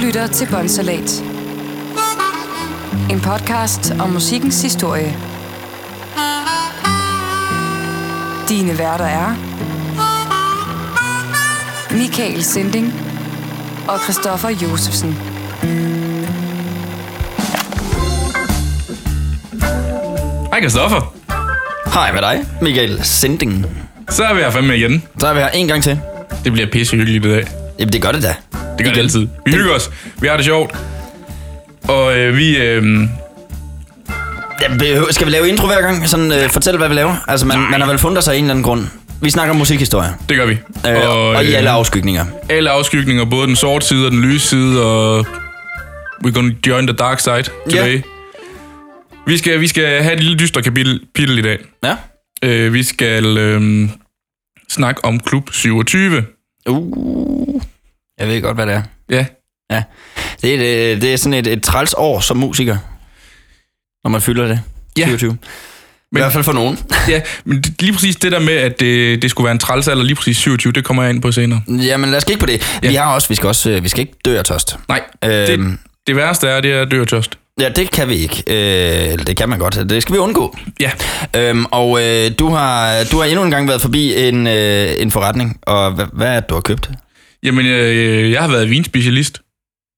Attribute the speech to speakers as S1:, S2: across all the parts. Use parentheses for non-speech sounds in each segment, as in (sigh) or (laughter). S1: lytter til Bonsalat. En podcast om musikkens historie. Dine værter er... Michael Sinding og Christoffer Josefsen.
S2: Hej Christoffer.
S3: Hej med dig, Michael Sending.
S2: Så er vi her fandme igen.
S3: Så er vi her en gang til.
S2: Det bliver pisse hyggeligt i dag.
S3: Jamen, det gør det da.
S2: Det gør det altid. Vi hygger os. Vi har det sjovt. Og øh, vi... Øh,
S3: Jamen, behøver, skal vi lave intro hver gang? Sådan, øh, fortæl, hvad vi laver. Altså, man, man har vel fundet sig af en eller anden grund. Vi snakker om musikhistorie.
S2: det gør vi.
S3: Øh, og, og i alle
S2: øh,
S3: afskygninger.
S2: alle afskygninger, både den sorte side og den lyse side, og... We're gonna join the dark side today.
S3: Ja.
S2: Vi, skal, vi skal have et lille dyster kapitel, kapitel i dag.
S3: Ja.
S2: Øh, vi skal øh, snakke om Klub 27.
S3: Uh. Jeg ved godt, hvad det er.
S2: Ja,
S3: Ja. Det er, det, det er sådan et, et træls år som musiker. Når man fylder det.
S2: Ja.
S3: 27. Men, I hvert fald for nogen.
S2: ja men det- lige præcis det der med, at det, det skulle være en trælsalder, lige præcis 27, det kommer jeg ind på senere.
S3: Jamen, lad os kigge på det. Ja. Vi har også, vi skal også, øh, vi skal ikke dø af tørst.
S2: Nej,
S3: Øhm.
S2: det, det værste er, det er at dø af tørst.
S3: Ja, det kan vi ikke. Øh, eller det kan man godt. Det skal vi undgå.
S2: Ja,
S3: Øhm, og øh, du, har, du har endnu en gang været forbi en, øh, en forretning, og hvad, hvad er det, du har købt?
S2: Jamen, øh, jeg har været vinspecialist,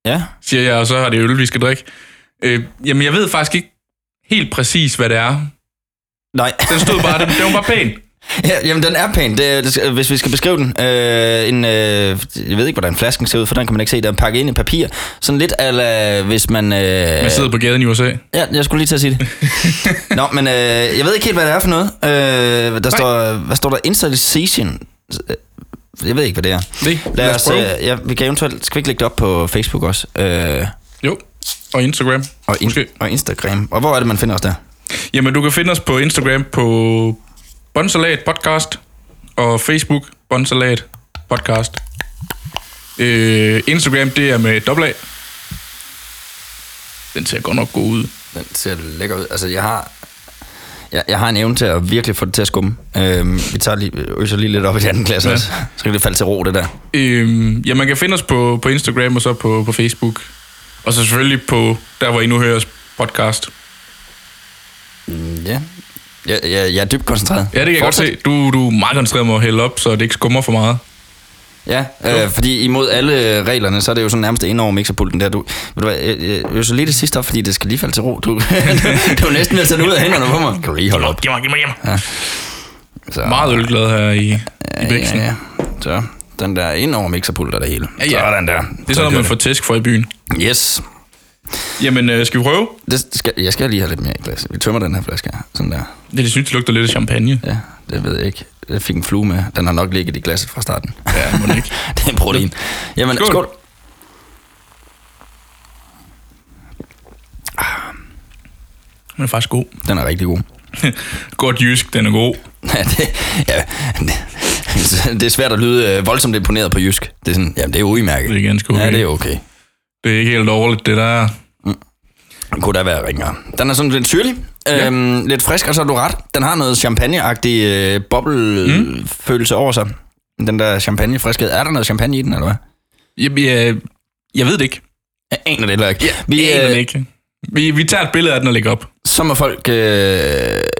S3: Ja,
S2: siger jeg, og så har det øl, vi skal drikke. Øh, jamen, jeg ved faktisk ikke helt præcis, hvad det er.
S3: nej. (laughs)
S2: Den stod bare, den, den var bare pæn.
S3: ja, jamen, den er pæn, det, er- det, skal- hvis vi skal beskrive den. Øh, en, øh, jeg ved ikke, hvordan flasken ser ud, for den kan man ikke se. Den er pakket ind i papir. Sådan lidt ala, hvis man... Øh,
S2: Jeg sidder på gaden i USA.
S3: ja, jeg skulle lige til at sige det. Nå, men øh, jeg ved ikke helt, hvad det er for noget. Øh, der står, hvad står der? Installation. Jeg ved ikke, hvad det er.
S2: Det,
S3: Lad os, øh, ja, vi kan eventuelt... Skal vi ikke lægge det op på Facebook også? Øh,
S2: Jo, og Instagram.
S3: Og, in-
S2: Måske.
S3: og Instagram. Og hvor er det, man finder os der?
S2: Jamen, du kan finde os på Instagram på Bonsalat Podcast og Facebook Bonsalat Podcast. Øh, Instagram, det er med dobbelt A. Den ser godt nok god ud.
S3: Den ser lækker ud. Altså, jeg har... Jeg, jeg har en evne til at virkelig få det til at skumme. Øhm, vi tager lige, øser lige lidt op i den anden klasse
S2: Ja.
S3: ja. også. Så kan det falde til ro, det der.
S2: Øhm, ja, man kan finde os på, på Instagram og så på, på Facebook. Og så selvfølgelig på, der hvor I nu hører os podcast.
S3: Mm, Ja. Jeg, jeg, jeg er dybt koncentreret.
S2: Ja, det kan jeg godt se. Du, du er meget koncentreret med at hælde op, så det ikke skummer for meget.
S3: Ja, øh, fordi imod alle reglerne, så er det jo sådan nærmest ind over mixerpulten der. Du, ved du hvad, jeg, jeg, jeg øser lige det sidste op, fordi det skal lige falde til ro. Du, (laughs) du er næsten ved at tage den ud af hænderne på mig. Kan du lige holde op?
S2: Giv mig, giv mig, giv mig.
S3: Så,
S2: Meget ølglad her i, i
S3: ja,
S2: Bæksen.
S3: ja, ja. Så den der ind over mixerpulten og det hele.
S2: Ja, ja.
S3: Sådan der.
S2: Det er sådan,
S3: kører
S2: man får tæsk for i byen.
S3: Yes.
S2: Jamen, øh, skal vi prøve?
S3: Det skal, jeg skal lige have lidt mere i glas. Vi tømmer den her flaske her. Sådan der.
S2: Det, det synes, det lugter lidt af champagne.
S3: Ja, det ved jeg ikke. Jeg fik en flue med. Den har nok ligget i glasset fra starten. (laughs)
S2: Ja, må det ikke.
S3: det er en protein. Jamen,
S2: Skål.
S3: skål. skål.
S2: (laughs) Den er faktisk god.
S3: Den er rigtig god. (laughs)
S2: Godt jysk, den er god.
S3: Ja, det, ja, det, det er svært at lyde øh, voldsomt imponeret på jysk. Det er sådan, jamen det er udmærket.
S2: Det er ganske okay.
S3: Ja, det er okay.
S2: Det er ikke helt dårligt, det der.
S3: Den kunne da være ringere. Den er sådan lidt syrlig, øhm, lidt frisk, og så har du ret. Den har noget champagneagtig øh, boblefølelse over sig. Den der champagnefriskhed. Er der noget champagne i den, eller hvad?
S2: Jeg, jeg, jeg ved det ikke.
S3: Jeg aner det heller ikke. øh, Ja,
S2: Vi, jeg aner det ikke. Vi, vi tager et billede af den og lægger op.
S3: så må folk øh,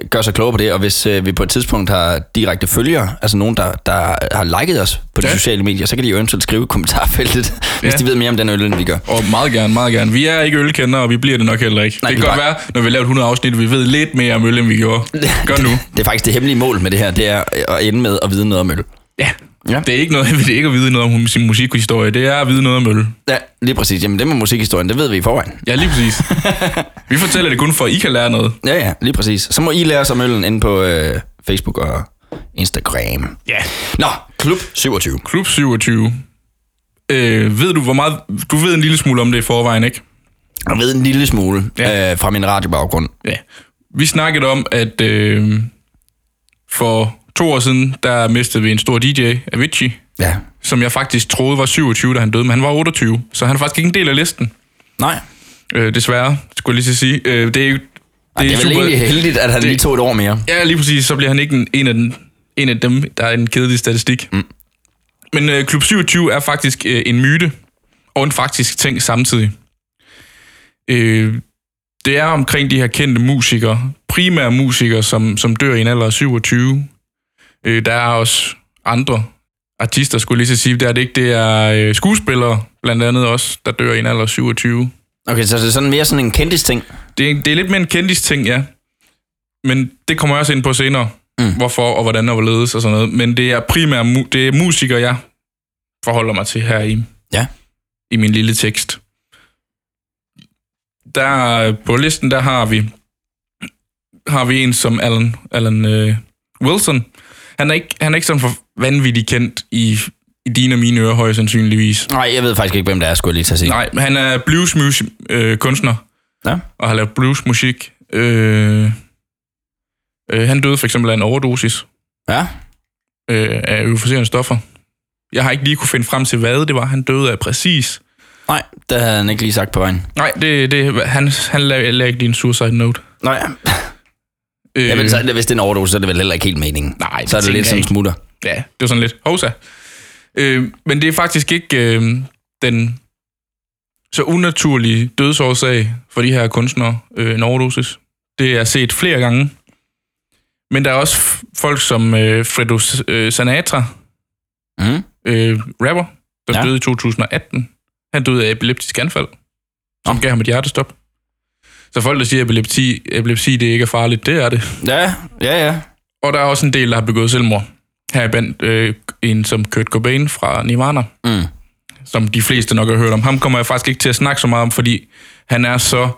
S3: gøre sig klogere på det, og hvis øh, vi på et tidspunkt har direkte følgere, altså nogen, der, der har liket os på de
S2: Ja.
S3: ja. sociale medier, så kan de jo eventuølt skrive i kommentarfeltet, (laughs) ja. hvis
S2: Ja.
S3: de ved mere om den øl, end vi gør.
S2: Og meget gerne, meget gerne. Vi er ikke ølkendere, og vi bliver det nok heller ikke. Nej,
S3: Nej,
S2: det kan
S3: vi
S2: godt
S3: bare-
S2: være, når vi har lavet 100 afsnit, at vi ved lidt mere om øl, end vi gjorde. Gør nu.
S3: (laughs) Det er faktisk det hemmelige mål med det her, det er at ende med at vide noget om øl.
S2: (laughs) Ja.
S3: Ja.
S2: Det er ikke noget, (laughs) det er ikke at vide noget om sin musikhistorie. Det er at vide noget om øl.
S3: Ja, lige præcis. Jamen det med musikhistorien, det ved vi i forvejen.
S2: Ja, lige (laughs) præcis. vi fortæller det kun for, at I kan lære noget.
S3: Ja, ja, lige præcis. Så må I lære os om øllen inde på øh, Facebook og Instagram.
S2: Ja.
S3: Nå, Klub 27.
S2: Klub 27. Øh, ved du, hvor meget... Du ved en lille smule om det i forvejen, ikke?
S3: Jeg ved en lille smule
S2: Ja.
S3: ja. øh, fra min radiobaggrund.
S2: Ja. Vi snakkede om, at øh, for to år siden, der mistede vi en stor DJ, Avicii,
S3: Ja.
S2: som jeg faktisk troede var 27, da han døde, men han var 28, så han er faktisk ikke en del af listen.
S3: Nej.
S2: Øh, desværre, skulle jeg lige til at sige. Øh, det er jo... Det,
S3: Det er, det er vel egentlig heldigt, at han det... lige tog et år mere.
S2: Ja, lige præcis. Så bliver han ikke en, en, af, den, en af dem, der er en kedelig statistik. Mm. Men øh, Klub 27 er faktisk øh, en myte og en faktisk ting samtidig. Øh, det er omkring de her kendte musikere, primære musikere, som, som dør i en alder af 27. Øh, der er også andre artister, skulle jeg lige så sige. Det er det ikke. Det er øh, skuespillere, blandt andet også, der dør i en alder af 27.
S3: Okay, så det er sådan mere sådan en kendtis ting.
S2: Det er, det er lidt mere en kendis ting, ja. Men det kommer jeg også ind på senere. Mm. Hvorfor og hvordan og hvorledes og sådan noget. Men det er primært mu- det er musikere, jeg forholder mig til her i,
S3: Ja.
S2: i min lille tekst. Der på listen, der har vi har vi en som Alan, Alan øh, Wilson. Han er ikke, han er ikke sådan for vanvittigt kendt i, i dine og mine ører, højst sandsynligvis.
S3: Nej, jeg ved faktisk ikke, hvem det er, skulle jeg lige tage sige.
S2: Nej, men han er bluesmusik-kunstner. Øh, kunstner
S3: Ja.
S2: og har lavet bluesmusik. Øh, øh, han døde for eksempel af en overdosis
S3: Ja?
S2: øh, af euforiserende stoffer. Jeg har ikke lige kunne finde frem til, hvad det var, han døde af præcis.
S3: Nej, det havde han ikke lige sagt på vejen.
S2: Nej, det, det, han, han lavede lag lige en suicide note.
S3: Nej.
S2: Øh,
S3: Ja, men så, er det- hvis det er en overdose, så er det vel heller ikke helt meningen.
S2: Nej, det
S3: så er det
S2: tænker
S3: lidt
S2: jeg
S3: som
S2: ikke.
S3: smutter.
S2: Ja, det var sådan lidt hovsa. Øh, men det er faktisk ikke øh, den så unaturlige dødsårsag for de her kunstnere, øh, en overdosis. Det er set flere gange. Men der er også f- folk som øh, Fredo S- øh, Sanatra,
S3: Mm.
S2: øh, rapper, der
S3: Ja.
S2: ja. døde i 2018. Han døde af epileptisk anfald, som gav ham et hjertestop. Så folk, der siger, at epilepsi, epilepsi det ikke er farligt, det er det.
S3: Ja, ja, ja.
S2: Og der er også en del, der har begået selvmord. Her er blandt øh, en som Kurt Cobain fra Nirvana,
S3: Mm.
S2: som de fleste nok har hørt om. Ham kommer jeg faktisk ikke til at snakke så meget om, fordi han er så...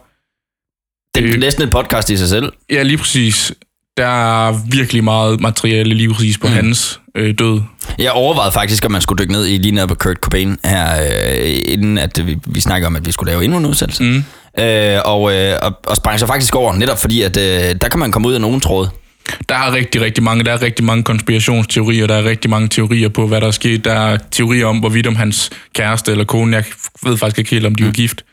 S3: Det er
S2: Øh.
S3: næsten et podcast i sig selv.
S2: Ja, lige præcis. Der er virkelig meget materiale lige præcis på mm. hans øh, død.
S3: Jeg overvejede faktisk, om man skulle dykke ned i lige nede på Kurt Cobain her, øh, inden at vi, vi snakker om, at vi skulle lave endnu en udsendelse.
S2: Mhm.
S3: Mm. Øh, og, øh, og, og sprang så faktisk over, netop fordi, at øh, der kan man komme ud af nogen tråd.
S2: Der er rigtig, rigtig mange. Der er rigtig mange konspirationsteorier. Der er rigtig mange teorier på, hvad der er sket. Der er teorier om, hvorvidt om hans kæreste eller kone, jeg ved faktisk ikke helt, om de var gift.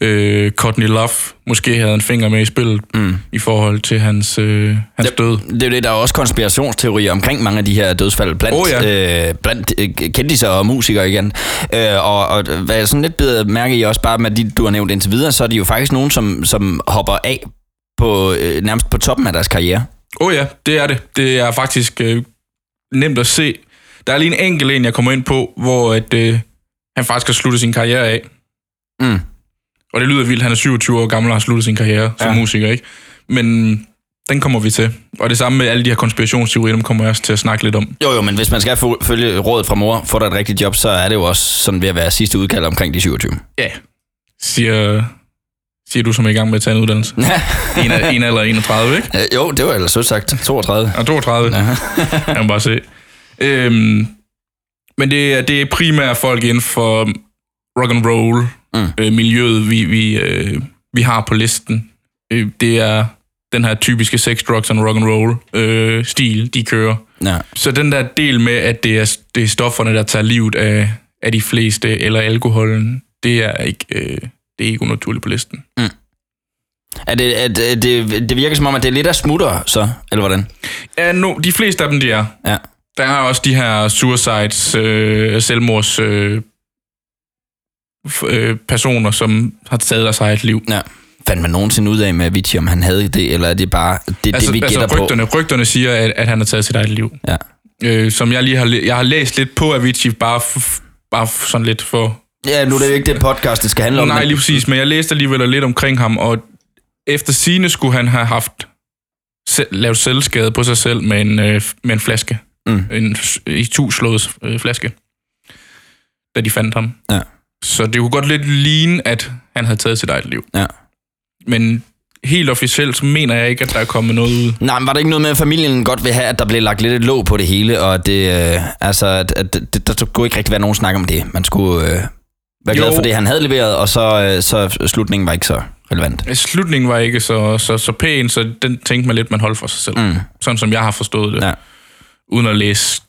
S2: Øh, Courtney Love måske havde en finger med i spillet mm. i forhold til hans, øh, hans
S3: Yep.
S2: død.
S3: Det er jo det, der er også konspirationsteorier omkring mange af de her dødsfald blandt,
S2: Åh,
S3: øh, blandt øh, kendtiser og musikere igen. Øh, og, og hvad jeg sådan lidt beder mærke i også bare med de, du har nævnt indtil videre, så er de jo faktisk nogen, som, som hopper af på, øh, nærmest på toppen af deres karriere.
S2: Åh oh ja, det er det. Det er faktisk øh, nemt at se. Der er lige en enkelt en, jeg kommer ind på, hvor at, øh, han faktisk har sluttet sin karriere af.
S3: Mm.
S2: Og det lyder vildt, han er 27 år gammel og har sluttet sin karriere som
S3: Ja.
S2: ja. musiker, ikke? Men den kommer vi til. Og det samme med alle de her konspirationsteorier, dem kommer jeg også til at snakke lidt om.
S3: Jo jo, men hvis man skal få- følge rådet fra mor, få dig et rigtigt job, så er det jo også sådan ved at være sidste udkald omkring de 27.
S2: Ja, siger, siger du, som er i gang med at tage en uddannelse. en, af- en eller 31, ikke?
S3: Øh, jo, det var ellers sødt (laughs) sagt. 32.
S2: Og 32. Ja. (laughs) jeg må bare se. Øhm, men det er, det er primært folk inden for rock and roll
S3: Mm.
S2: mm. øh, miljøet, vi, vi, øh, vi har på listen. Øh, det er den her typiske sex, drugs and rock and roll øh, stil, de kører.
S3: Ja.
S2: Så den der del med, at det er, det er stofferne, der tager livet af, af de fleste, eller alkoholen, det er ikke, øh, det er ikke unaturligt på listen.
S3: Er det, er det, det, det virker som om, at det er lidt af smutter, så, eller hvordan?
S2: Ja, no, de fleste af dem, de er.
S3: Ja.
S2: Der er også de her suicides, øh, selvmords øh, f- øh, personer, som har taget af sig et liv.
S3: Ja. Fandt man nogensinde ud af med Avicii, om han havde det, eller er det bare det, altså, det vi gætter
S2: altså
S3: på?
S2: rygterne, rygterne siger, at, at han har taget sit eget liv.
S3: Ja.
S2: Øh, som jeg lige har, læ- jeg har læst lidt på Avicii, bare, f- bare f- sådan lidt for...
S3: ja, nu er det jo ikke det podcast, det skal handle om.
S2: Nej,
S3: men-
S2: lige præcis, men jeg læste alligevel lidt omkring ham, og efter sine skulle han have haft se- lavet selvskade på sig selv med en, øh, f- med en flaske.
S3: Mm.
S2: En s- i to slået øh, flaske, da de fandt ham.
S3: Ja.
S2: Så det kunne godt lidt ligne, at han havde taget sit eget liv.
S3: Ja.
S2: Men helt officielt, så mener jeg ikke, at der er kommet noget ud.
S3: Nej, men var der ikke noget med, at familien godt vil have, at der blev lagt lidt et låg på det hele, og at det, øh, altså, at, at det, der skulle ikke rigtig være nogen snak om det. Man skulle øh, være glad
S2: Jo.
S3: for det, han havde leveret, og så, øh, så slutningen var ikke så relevant.
S2: Slutningen var ikke så, så, så pæn, så den tænkte man lidt, man holdt for sig selv.
S3: Mm.
S2: Sådan som jeg har forstået det.
S3: Ja.
S2: Uden at læse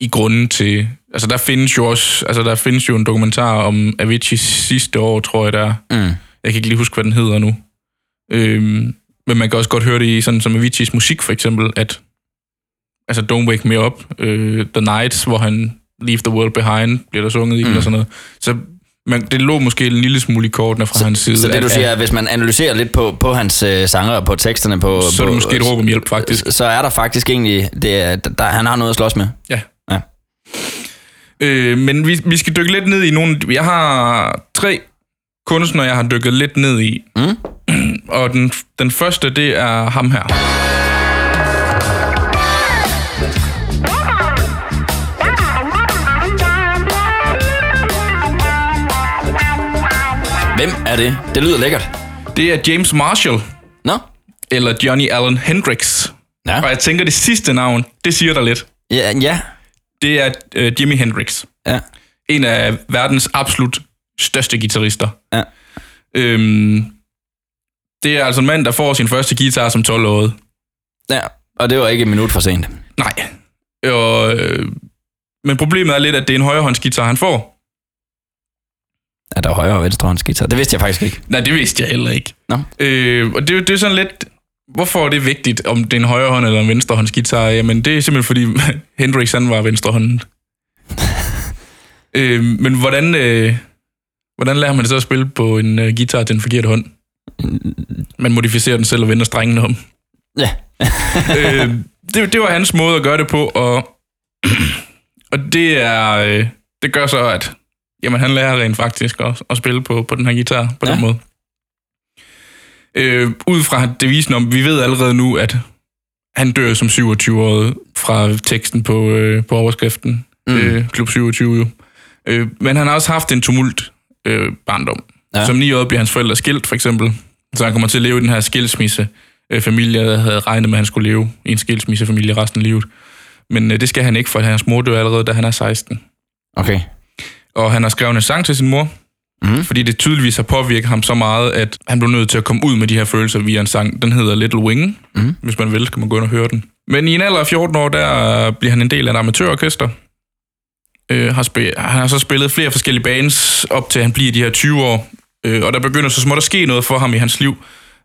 S2: i grunden til... Altså der findes jo også... Altså der findes jo en dokumentar om Avicii sidste år, tror jeg, der...
S3: Mm.
S2: Jeg kan ikke lige huske, hvad den hedder nu. Øhm, men man kan også godt høre det i sådan som Aviciis musik, for eksempel, at... Altså Don't Wake Me Up, øh, The Nights, hvor han Leave the World Behind, bliver der sunget i, mm. og sådan noget. Så Men det lå måske en lille smule i kortene fra så, hans side.
S3: Så det,
S2: at-
S3: du
S2: at-
S3: siger, er, hvis man analyserer lidt på, på hans øh, sanger og på teksterne på...
S2: så er
S3: på,
S2: det måske et råb om hjælp, faktisk.
S3: Så er der faktisk egentlig... Det er, der, han har noget at slås med.
S2: Ja.
S3: Ja.
S2: Øh, men vi, vi skal dykke lidt ned i nogle... Jeg har tre kunstnere, jeg har dykket lidt ned i.
S3: Mm.
S2: (clears throat) Og den, den første, det er ham her.
S3: Hvem er det? Det lyder lækkert.
S2: Det er James Marshall,
S3: Nå?
S2: eller Johnny Allen Hendrix.
S3: Ja.
S2: Og jeg tænker, det sidste navn, det siger der lidt.
S3: Ja. ja.
S2: Det er øh, Jimi Hendrix.
S3: ja.
S2: En af verdens absolut største guitarister.
S3: Ja.
S2: Øhm, det er altså en mand, der får sin første guitar som 12-årig.
S3: Ja, og det var ikke et minut for sent.
S2: Nej. Og, øh, men problemet er lidt, at det er en højrehåndsgitar, han får.
S3: Er der højre og venstre håndsgitar? Det vidste jeg faktisk ikke.
S2: Nej, det vidste jeg heller ikke.
S3: Nå.
S2: Øh, og det, det er sådan lidt... Hvorfor er det vigtigt, om det er en højrehånd eller en venstrehåndsgitar? Jamen, det er simpelthen fordi (laughs) Hendrix, han var
S3: (laughs)
S2: venstrehånden. øh, men hvordan, øh, hvordan lærer man det så at spille på en øh, guitar til den forkerte hånd? Man modificerer den selv og vender strengene om.
S3: Ja.
S2: (laughs) øh, det, det var hans måde at gøre det på, og, (clears throat) og det er øh, det gør så, at jamen, han lærer rent faktisk at, at spille på, på den her guitar på ja.
S3: Ja.
S2: den måde. Øh, ud fra devisen om, vi ved allerede nu, at han dør som 27-årig fra teksten på, øh, på overskriften.
S3: Mm.
S2: Mm. Øh, Klub 27 jo. Øh, men han har også haft en tumult øh, barndom.
S3: Ja.
S2: Ja. Som 9 år bliver hans forældre skilt, for eksempel. Så han kommer til at leve i den her skilsmisse. Øh, familie der havde regnet med, at han skulle leve i en skilsmissefamilie resten af livet. Men øh, det skal han ikke, for hans mor dør allerede, da han er 16.
S3: Okay.
S2: Og han har skrevet en sang til sin mor,
S3: Mhm.
S2: mm. fordi det tydeligvis har påvirket ham så meget, at han blev nødt til at komme ud med de her følelser via en sang. Den hedder Little Wing.
S3: Mhm.
S2: Hvis man vil, kan man gå ind og høre den. Men i en alder af 14 år, der bliver han en del af et amatørorkester. Øh, har spil- han har så spillet flere forskellige bands, op til han bliver de her 20 år. Øh, og der begynder så småt at ske noget for ham i hans liv.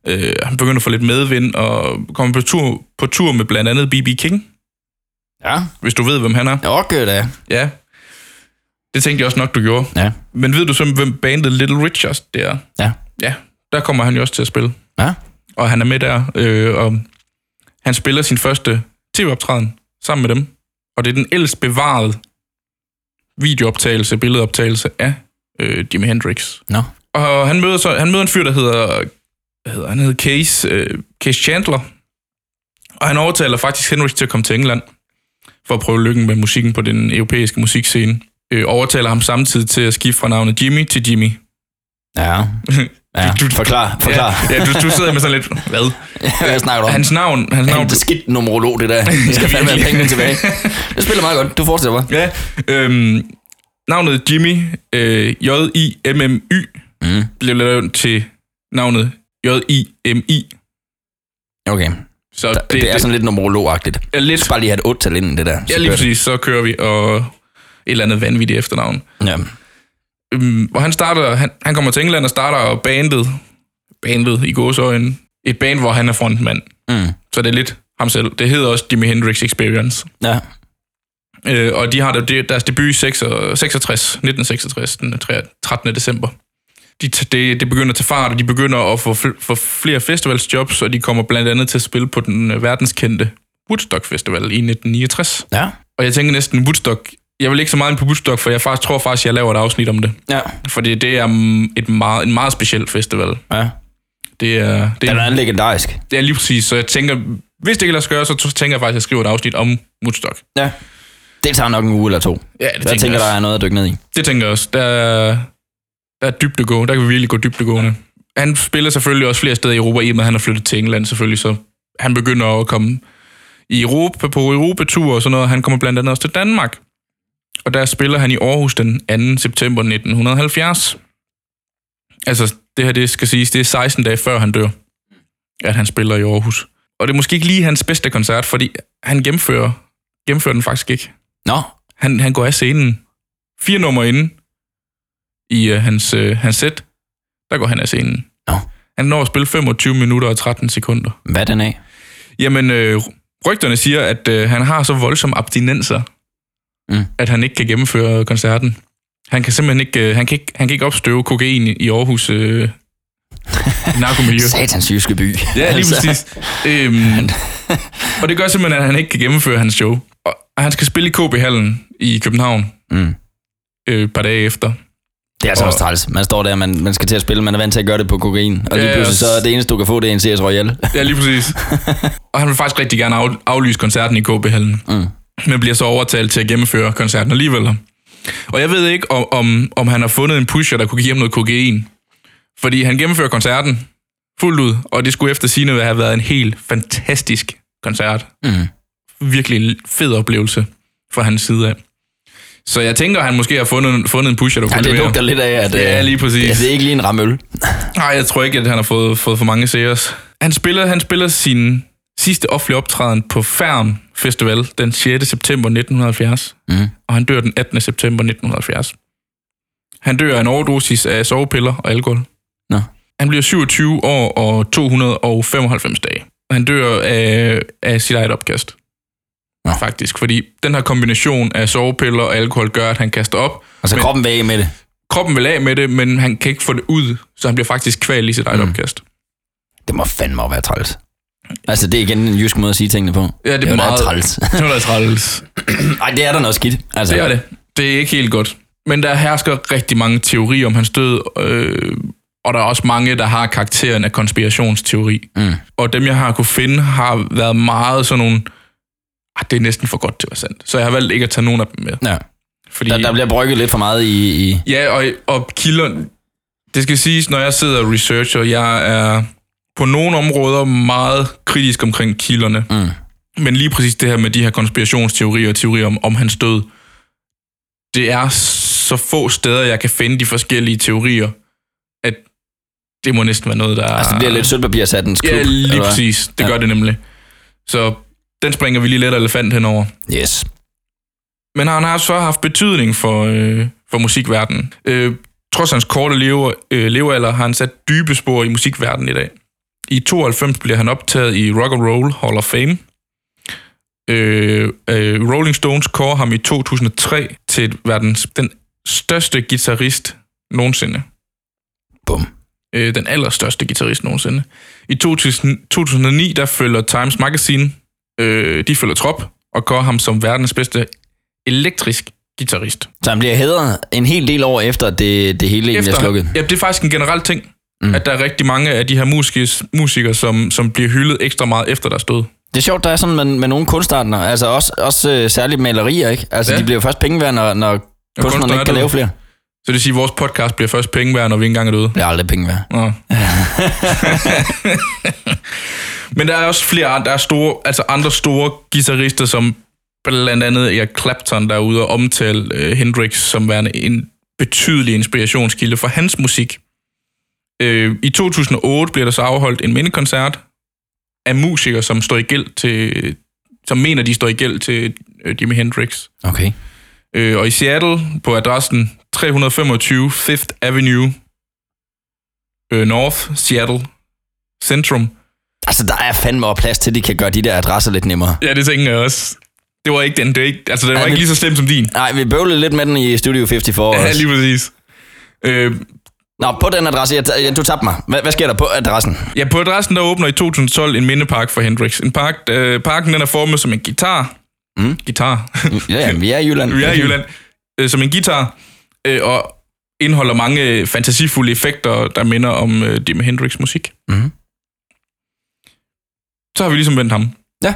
S2: Øh, han begynder at få lidt medvind og kommer på tur, på tur med blandt andet B.B. King,
S3: Ja.
S2: hvis du ved, hvem han er.
S3: Okay, da.
S2: Ja. Det tænkte jeg også nok, du gjorde.
S3: Ja.
S2: Men ved du så, hvem bandet Little Richards det er?
S3: Ja.
S2: Ja, der kommer han jo også til at spille.
S3: Ja.
S2: Og han er med der, øh, og han spiller sin første tv-optræden sammen med dem. Og det er den ældst bevarede videooptagelse, billedoptagelse af øh, Jimi Hendrix.
S3: Nå.
S2: Og han møder, så, han møder en fyr, der hedder, hvad hedder han hedder Case, øh, Case Chandler. Og han overtaler faktisk Hendrix til at komme til England for at prøve lykken med musikken på den europæiske musikscene. Øh, overtaler ham samtidig til at skifte fra navnet Jimmy til Jimmy.
S3: Ja. Ja.
S2: Du- du-
S3: Forklar, (laughs)
S2: (laughs)
S3: forklar.
S2: Ja, ja du, du sidder med sådan lidt, hvad?
S3: Hvad snakker du om?
S2: Hans navn, hans
S3: Han
S2: navn
S3: er en skidt numerolog,
S2: (laughs)
S3: det der. Vi skal fandme have
S2: virkelig.
S3: pengene tilbage. Det spiller meget godt. Du fortsætter bare.
S2: Ja, øhm, navnet Jimmy, øh, J-I-M-M-Y,
S3: Mm.
S2: blev lavet om til navnet J-I-M-I.
S3: Okay.
S2: Så
S3: Der, det, det, er sådan lidt numerologagtigt.
S2: er
S3: Du
S2: lidt
S3: skal bare lige have et 8 tal ind i det der. Så
S2: Ja, lige
S3: kører det.
S2: præcis. Så kører vi, og et eller andet vanvittigt efternavn.
S3: Ja.
S2: Øhm, og han, starter, han, han kommer til England og starter bandet, bandet i gåsøjne, et band, hvor han er frontmand.
S3: Mm.
S2: Så det er lidt ham selv. Det hedder også Jimi Hendrix Experience.
S3: Ja.
S2: Øh, og de har der- det- deres debut i 66, 1966, den tre- 13. december. De, t- det, det begynder at tage fart, og de begynder at få, fl- få flere festivalsjobs, og de kommer blandt andet til at spille på den øh, verdenskendte Woodstock Festival i 1969.
S3: Ja.
S2: Og jeg tænker næsten Woodstock. Jeg vil ikke så meget ind på Woodstock, for jeg faktisk, tror faktisk, jeg laver et afsnit om det.
S3: Ja.
S2: Fordi det er mm, et meget, en meget speciel festival.
S3: Ja.
S2: Det er, det,
S3: Den
S2: er,
S3: er legendarisk.
S2: det er lige præcis, så jeg tænker, hvis det ikke lader sig gøre, så t- tænker jeg faktisk, at jeg skriver et afsnit om Woodstock.
S3: Ja. Det tager nok en uge eller to.
S2: Ja, det
S3: Jeg tænker,
S2: jeg
S3: der
S2: også.
S3: er noget at dykke ned i.
S2: Det tænker jeg også. Der, er- der er dybdegående. Der kan vi virkelig gå dybdegående. Han spiller selvfølgelig også flere steder i Europa, i og med at han har flyttet til England selvfølgelig, så han begynder at komme i Europa, på Europatur og sådan noget. Han kommer blandt andet også til Danmark. Og der spiller han i Aarhus den 2. september 1970. Altså, det her, det skal siges, det er 16 dage før han dør, at han spiller i Aarhus. Og det er måske ikke lige hans bedste koncert, fordi han gennemfører, gennemfører den faktisk ikke.
S3: Nå.
S2: Han, han går af scenen. Fire numre inde i øh, hans, øh, hans sæt, der går han af scenen.
S3: Nå.
S2: Han når at spille 25 minutter og 13 sekunder.
S3: Hvad er den af?
S2: Jamen, øh, rygterne siger, at øh, han har så voldsom abstinenser,
S3: Mm.
S2: at han ikke kan gennemføre koncerten. Han kan simpelthen ikke, øh, han kan ikke, han kan ikke opstøve kokain i Aarhus
S3: (laughs)
S2: øh, narkomiljø.
S3: Satans jyske by. (laughs) Altså,
S2: Ja, lige præcis. Øhm, og det gør simpelthen, at han ikke kan gennemføre hans show. Og han skal spille i KB-hallen i København
S3: Mm.
S2: øh, et par dage efter.
S3: Det er altså
S2: Og-
S3: også træls. Man står der, man, man skal til at spille, man er vant til at gøre det på kokain. Og lige
S2: Ja,
S3: pludselig så
S2: og-
S3: er det eneste, du kan få, det er en CS (laughs) Royale.
S2: Ja, lige præcis. og han vil faktisk rigtig gerne af, aflyse koncerten i KB-hallen.
S3: Mm.
S2: Men bliver så overtalt til at gennemføre koncerten alligevel. Og jeg ved ikke, om, om, om han har fundet en pusher, der kunne give ham noget kokain. Fordi han gennemfører koncerten fuldt ud, og det skulle efter sine have været en helt fantastisk koncert.
S3: Mm.
S2: virkelig en fed oplevelse fra hans side af. Så jeg tænker, at han måske har fundet, fundet en pusher, der
S3: Ja,
S2: kunne
S3: det
S2: levere.
S3: lugter lidt af, at øh,
S2: Ja, lige præcis.
S3: det, det er ikke lige en ramme øl.
S2: Nej, jeg tror ikke, at han har fået, fået for mange seers. Han spiller, han spiller sin sidste offentlige optræden på Færm Festival den 6. september 1970,
S3: Mm.
S2: og han dør den 18. september 1970. Han dør af en overdosis af sovepiller og alkohol.
S3: Nå.
S2: Han bliver 27 år og 295 dage. Han dør af, af sit eget opkast.
S3: Nå.
S2: Faktisk, fordi den her kombination af sovepiller og alkohol gør, at han kaster op.
S3: Og så
S2: Men-
S3: kroppen væk med det.
S2: Kroppen vil af med det, men han kan ikke få det ud, så han bliver faktisk kvalt i sit
S3: Mhm.
S2: eget mm. opkast.
S3: Det må fandme også være træls. Altså, det er igen en jysk måde at sige tingene på.
S2: Ja, (laughs) det er
S3: jo,
S2: meget-
S3: Da træls. (laughs)
S2: Nu er der træls.
S3: Ej, det er da noget skidt. Altså,
S2: Det er det. Det er ikke helt godt. Men der hersker rigtig mange teorier om hans død, øh, og der er også mange, der har karakteren af konspirationsteori.
S3: Mm.
S2: Og dem, jeg har kunne finde, har været meget sådan nogle... Ah, det er næsten for godt til at være sandt. Så jeg har valgt ikke at tage nogen af dem med.
S3: Ja.
S2: Fordi,
S3: Der, der bliver brygget lidt for meget i... i...
S2: Ja, og, og kilder... Det skal siges, når jeg sidder og researcher, jeg er på nogle områder meget kritisk omkring kilderne.
S3: Mm.
S2: Men lige præcis det her med de her konspirationsteorier og teorier om, om hans død, det er så få steder, jeg kan finde de forskellige teorier, at det må næsten være noget, der...
S3: Altså, det bliver lidt sølvpapirshattens klub.
S2: Ah. Ja, lige
S3: eller hvad?
S2: præcis. Det
S3: Ja.
S2: ja. gør det nemlig. Så den springer vi lige let elefant henover.
S3: Yes.
S2: Men han har så haft betydning for, øh, for musikverdenen. Øh, trods hans korte leve, øh, levealder har han sat dybe spor i musikverdenen i dag. I 92 bliver han optaget i Rock and Roll Hall of Fame. Øh, øh, Rolling Stones kårer ham i 2003 til verdens den største guitarist nogensinde.
S3: Bum.
S2: Øh, den allerstørste guitarist nogensinde. I 2000, 2009, der følger Times Magazine, øh, de følger trop og kårer ham som verdens bedste elektrisk guitarist.
S3: Så han bliver hædret en hel del år efter, at det, det hele egentlig er slukket.
S2: ja, det er faktisk en generel ting,
S3: Mm.
S2: mm. at der er rigtig mange af de her musikers, musikere, som, som bliver hyldet ekstra meget efter deres død.
S3: Det er sjovt, der er sådan med, med nogle kunstartene, altså også, også øh, særligt malerier, ikke? Altså, ja.
S2: Ja.
S3: de bliver jo først penge værd, når, når kunstneren
S2: kunstneren
S3: ikke
S2: er
S3: kan
S2: død.
S3: lave flere.
S2: Så det vil sige, at vores podcast bliver først penge værd, når vi ikke engang er døde.
S3: Det er aldrig penge værd.
S2: Nå. (laughs) Men der er også flere andre, der er store, altså andre store guitarister, som blandt andet Eric Clapton, der er ude og omtale øh, Hendrix som værende en betydelig inspirationskilde for hans musik. Øh, I 2008 bliver der så afholdt en mindekoncert af musikere, som står i gæld til, som mener, de står i gæld til øh, Jimi Hendrix.
S3: Okay.
S2: Øh, og i Seattle på adressen 325 Fifth Avenue øh, North Seattle Centrum.
S3: Altså, der er fandme også plads til, at de kan gøre de der adresser lidt nemmere.
S2: Ja, det tænker jeg også. Det var ikke den, det var ikke, altså den
S3: Ja,
S2: var
S3: det-
S2: ikke lige så slem som din.
S3: Nej, vi bøvlede lidt med den i Studio 54 også.
S2: Ja, lige præcis. Øh,
S3: Nå, på den adresse, jeg, jeg, du tabte mig. Hvad, hvad sker der på adressen?
S2: ja, på adressen der åbner i 2012 en mindepark for Hendrix. En park, øh, parken den er formet som en guitar.
S3: Mm.
S2: Guitar.
S3: Ja, ja, vi er i Jylland.
S2: Vi er i Jylland. Øh, som en guitar. Øh, og indeholder mange øh, fantasifulde effekter, der minder om øh, Jimi Hendrix musik.
S3: Mhm.
S2: Så har vi ligesom vendt ham.
S3: Ja.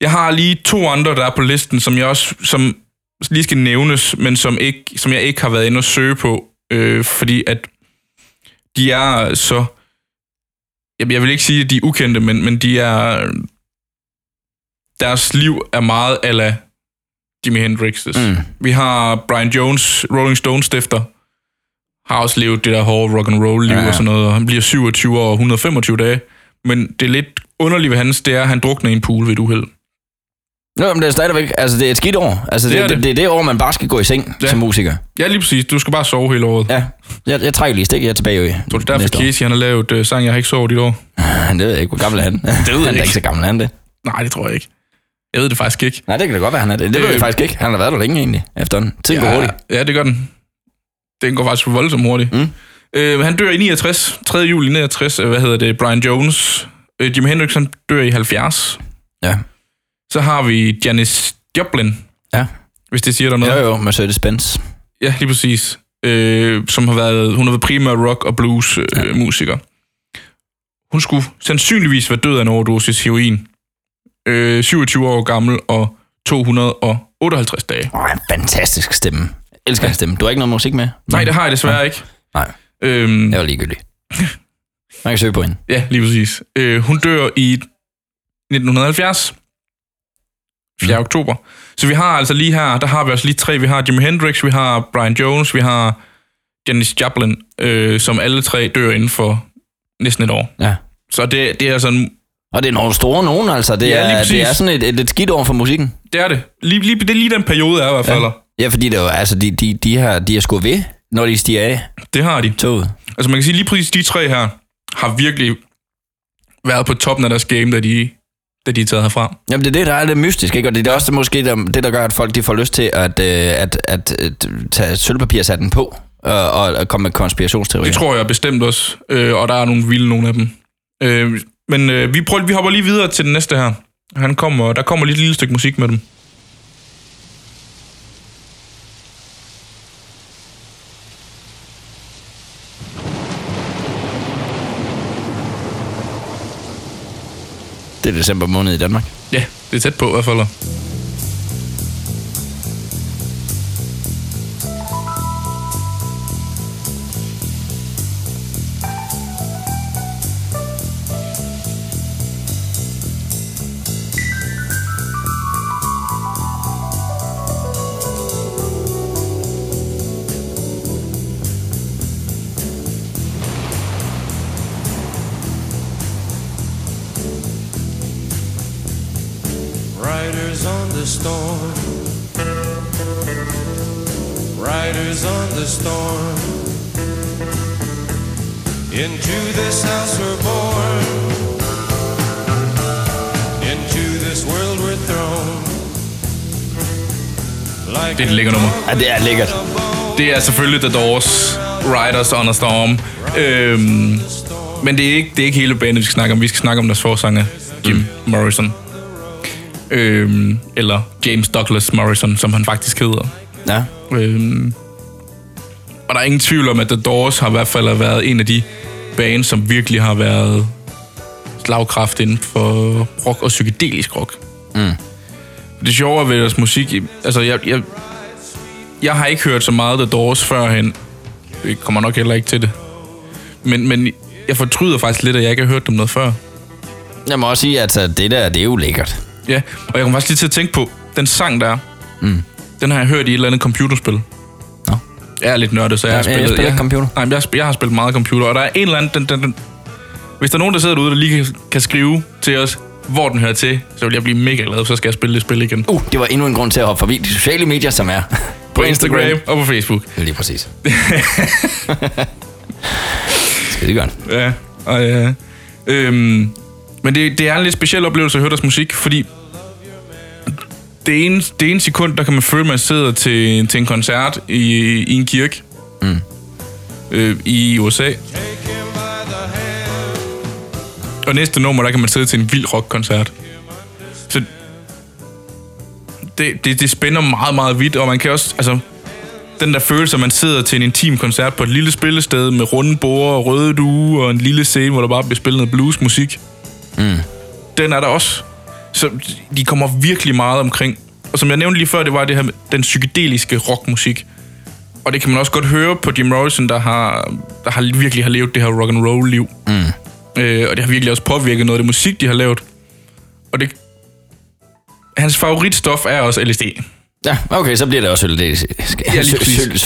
S2: Jeg har lige to andre, der er på listen, som jeg også som lige skal nævnes, men som, ikke, som jeg ikke har været inde og søge på, øh, fordi at de er så... Jamen, jeg vil ikke sige, at de er ukendte, men, men de er... Deres liv er meget ala Jimi Hendrix's.
S3: Mm.
S2: Vi har Brian Jones, Rolling Stones stifter, har også levet det der hårde rock and roll liv ja,
S3: Ja, ja.
S2: ja. og sådan noget, og han bliver 27 år og 125 dage. Men det er lidt underligt ved hans, det er, at han drukner i en pool ved et uheld.
S3: Nå, men det er stadigvæk, altså det er et skidt år. Altså det, det, er det. det er det år, man bare skal gå i seng ja.
S2: Ja.
S3: som musiker.
S2: Ja, lige præcis. Du skal bare sove hele året. Ja.
S3: Ja, jeg, jeg trækker lige stik, jeg er tilbage i
S2: Tror du, derfor
S3: næste år.
S2: Casey, han har lavet øh, sang, jeg har ikke sovet i et år?
S3: Han det ved jeg ikke, hvor gammel er han. Det
S2: jeg
S3: han er da
S2: ikke.
S3: ikke så gammel, er han det.
S2: Nej, det tror jeg ikke. Jeg ved det faktisk ikke.
S3: Nej, det kan da godt være, han er det. Det ved
S2: Øh.
S3: jeg faktisk ikke. Han har været der længe egentlig, efterhånden. Tiden ja. går hurtigt.
S2: Ja, det gør den. Den går faktisk voldsomt hurtigt. Mm. Øh, han dør i 69, 3. juli 69, øh, hvad hedder det, Brian Jones. Øh, Jimi Hendrix, han dør i 70.
S3: Ja.
S2: Så har vi Janis Joplin,
S3: Ja.
S2: hvis det siger dig noget.
S3: Jo, jo, Mercedes-Benz.
S2: Ja, lige præcis. Øh, som har været, hun har været primær rock- og blues-musiker. Øh, musiker. Hun skulle sandsynligvis være død af en overdosis heroin. Øh, 27 år gammel og 258 dage.
S3: Åh, en fantastisk stemme. Jeg elsker hans stemme. Du har ikke noget musik med?
S2: Nej, det har jeg desværre ikke.
S3: Nej,
S2: Øhm,
S3: jeg var ligegyldig. Man kan søge på hende.
S2: ja, lige præcis. Øh, hun dør i 1970. 4. oktober. Så vi har altså lige her, der har vi altså lige tre. Vi har Jimi Hendrix, vi har Brian Jones, vi har Janis Joplin, øh, som alle tre dør inden for næsten et år.
S3: Ja.
S2: Så det, det er altså en,
S3: Og det er nogle store nogen, altså. Det
S2: Ja, lige
S3: er,
S2: præcis.
S3: det er sådan et, et, et skidt over for musikken.
S2: det er det. Lige, lige, det er lige den periode, er i hvert fald. Ja.
S3: Ja, fordi det er jo, altså, de, de, de, har, de er sgu ved, når de stiger af
S2: Det har de.
S3: toget.
S2: Altså man kan sige, lige præcis de tre her har virkelig været på toppen af deres game, da de, da de er taget herfra.
S3: Jamen det er det, der er lidt mystisk, ikke? Og det er også måske der, det, der gør, at folk de får lyst til at, øh, at, at, at tage sølvpapirshatten på og, og, og komme med konspirationsteorier.
S2: Det tror jeg bestemt også, øh, og der er nogle vilde nogle af dem. Øh, men øh, vi, prøver, vi hopper lige videre til den næste her. Han kommer, der kommer lige et lille stykke musik med dem.
S3: Det er december måned i Danmark.
S2: Ja, det er tæt på i hvert fald.
S4: Riders on the storm. Riders on the storm. Into this house we're born. Into this world we're thrown. Like
S2: Det er et lækker nummer.
S3: Ja, det er lækkert.
S2: Det er selvfølgelig The Doors, Riders on a Storm. Øhm, men det er, ikke, det er ikke hele bandet, vi skal snakke om. Vi skal snakke om deres forsanger, Jim Morrison. Øhm, eller James Douglas Morrison, som han faktisk hedder.
S3: Ja.
S2: Øhm, og der er ingen tvivl om, at The Doors har i hvert fald været en af de bands, som virkelig har været slagkraft inden for rock og psykedelisk rock. Mm. Det sjove ved deres musik, altså jeg, jeg, jeg har ikke hørt så meget The Doors førhen. Jeg kommer nok heller ikke til det. Men, men jeg fortryder faktisk lidt, at jeg ikke har hørt dem noget før.
S3: Jeg må også sige, at
S2: øh,
S3: altså, det der, det er jo lækkert.
S2: Ja, og jeg kom faktisk lige til at tænke på, den sang der, mm. den har jeg hørt i et eller andet computerspil.
S3: Nå.
S2: Jeg er lidt nørdet, så jeg
S3: Ja,
S2: har
S3: jeg
S2: spillet...
S3: spiller ikke computer.
S2: Nej, men jeg, har sp- jeg har spillet meget computer, og der er en eller anden... Den, den, den, hvis der er nogen, der sidder derude, der lige kan, kan skrive til os, hvor den hører til, så vil jeg blive mega glad, for så skal jeg spille det spil igen.
S3: Uh, det var endnu en grund til at hoppe forbi de sociale medier, som
S2: (laughs)
S3: er
S2: På Instagram og på Facebook.
S3: Lige
S2: (laughs)
S3: præcis. Skal det gøre det?
S2: Ja, og ja. Øhm, men det, det er en lidt speciel oplevelse at høre deres musik, fordi det ene, det ene sekund, der kan man føle, at man sidder til, til en koncert i, i en kirke mm. øh, i USA. Og næste nummer, der kan man sidde til en vild rockkoncert. Så det, det, det spænder meget, meget vidt, og man kan også... Altså, den der følelse, at man sidder til en intim koncert på et lille spillested med runde borde og røde duge og en lille scene, hvor der bare bliver spillet noget bluesmusik. Mm. Den er der også. Så de kommer virkelig meget omkring. Og som jeg nævnte lige før, det var det her med den psykedeliske rockmusik. Og det kan man også godt høre på Jim Morrison, der, har, der har virkelig har levet det her rock and roll liv. Mm. Øh, og det har virkelig også påvirket noget af det musik, de har lavet. Og det, hans favoritstof er også LSD.
S3: Ja, okay, så bliver det også solidarisk.
S2: Ja, lige præcis.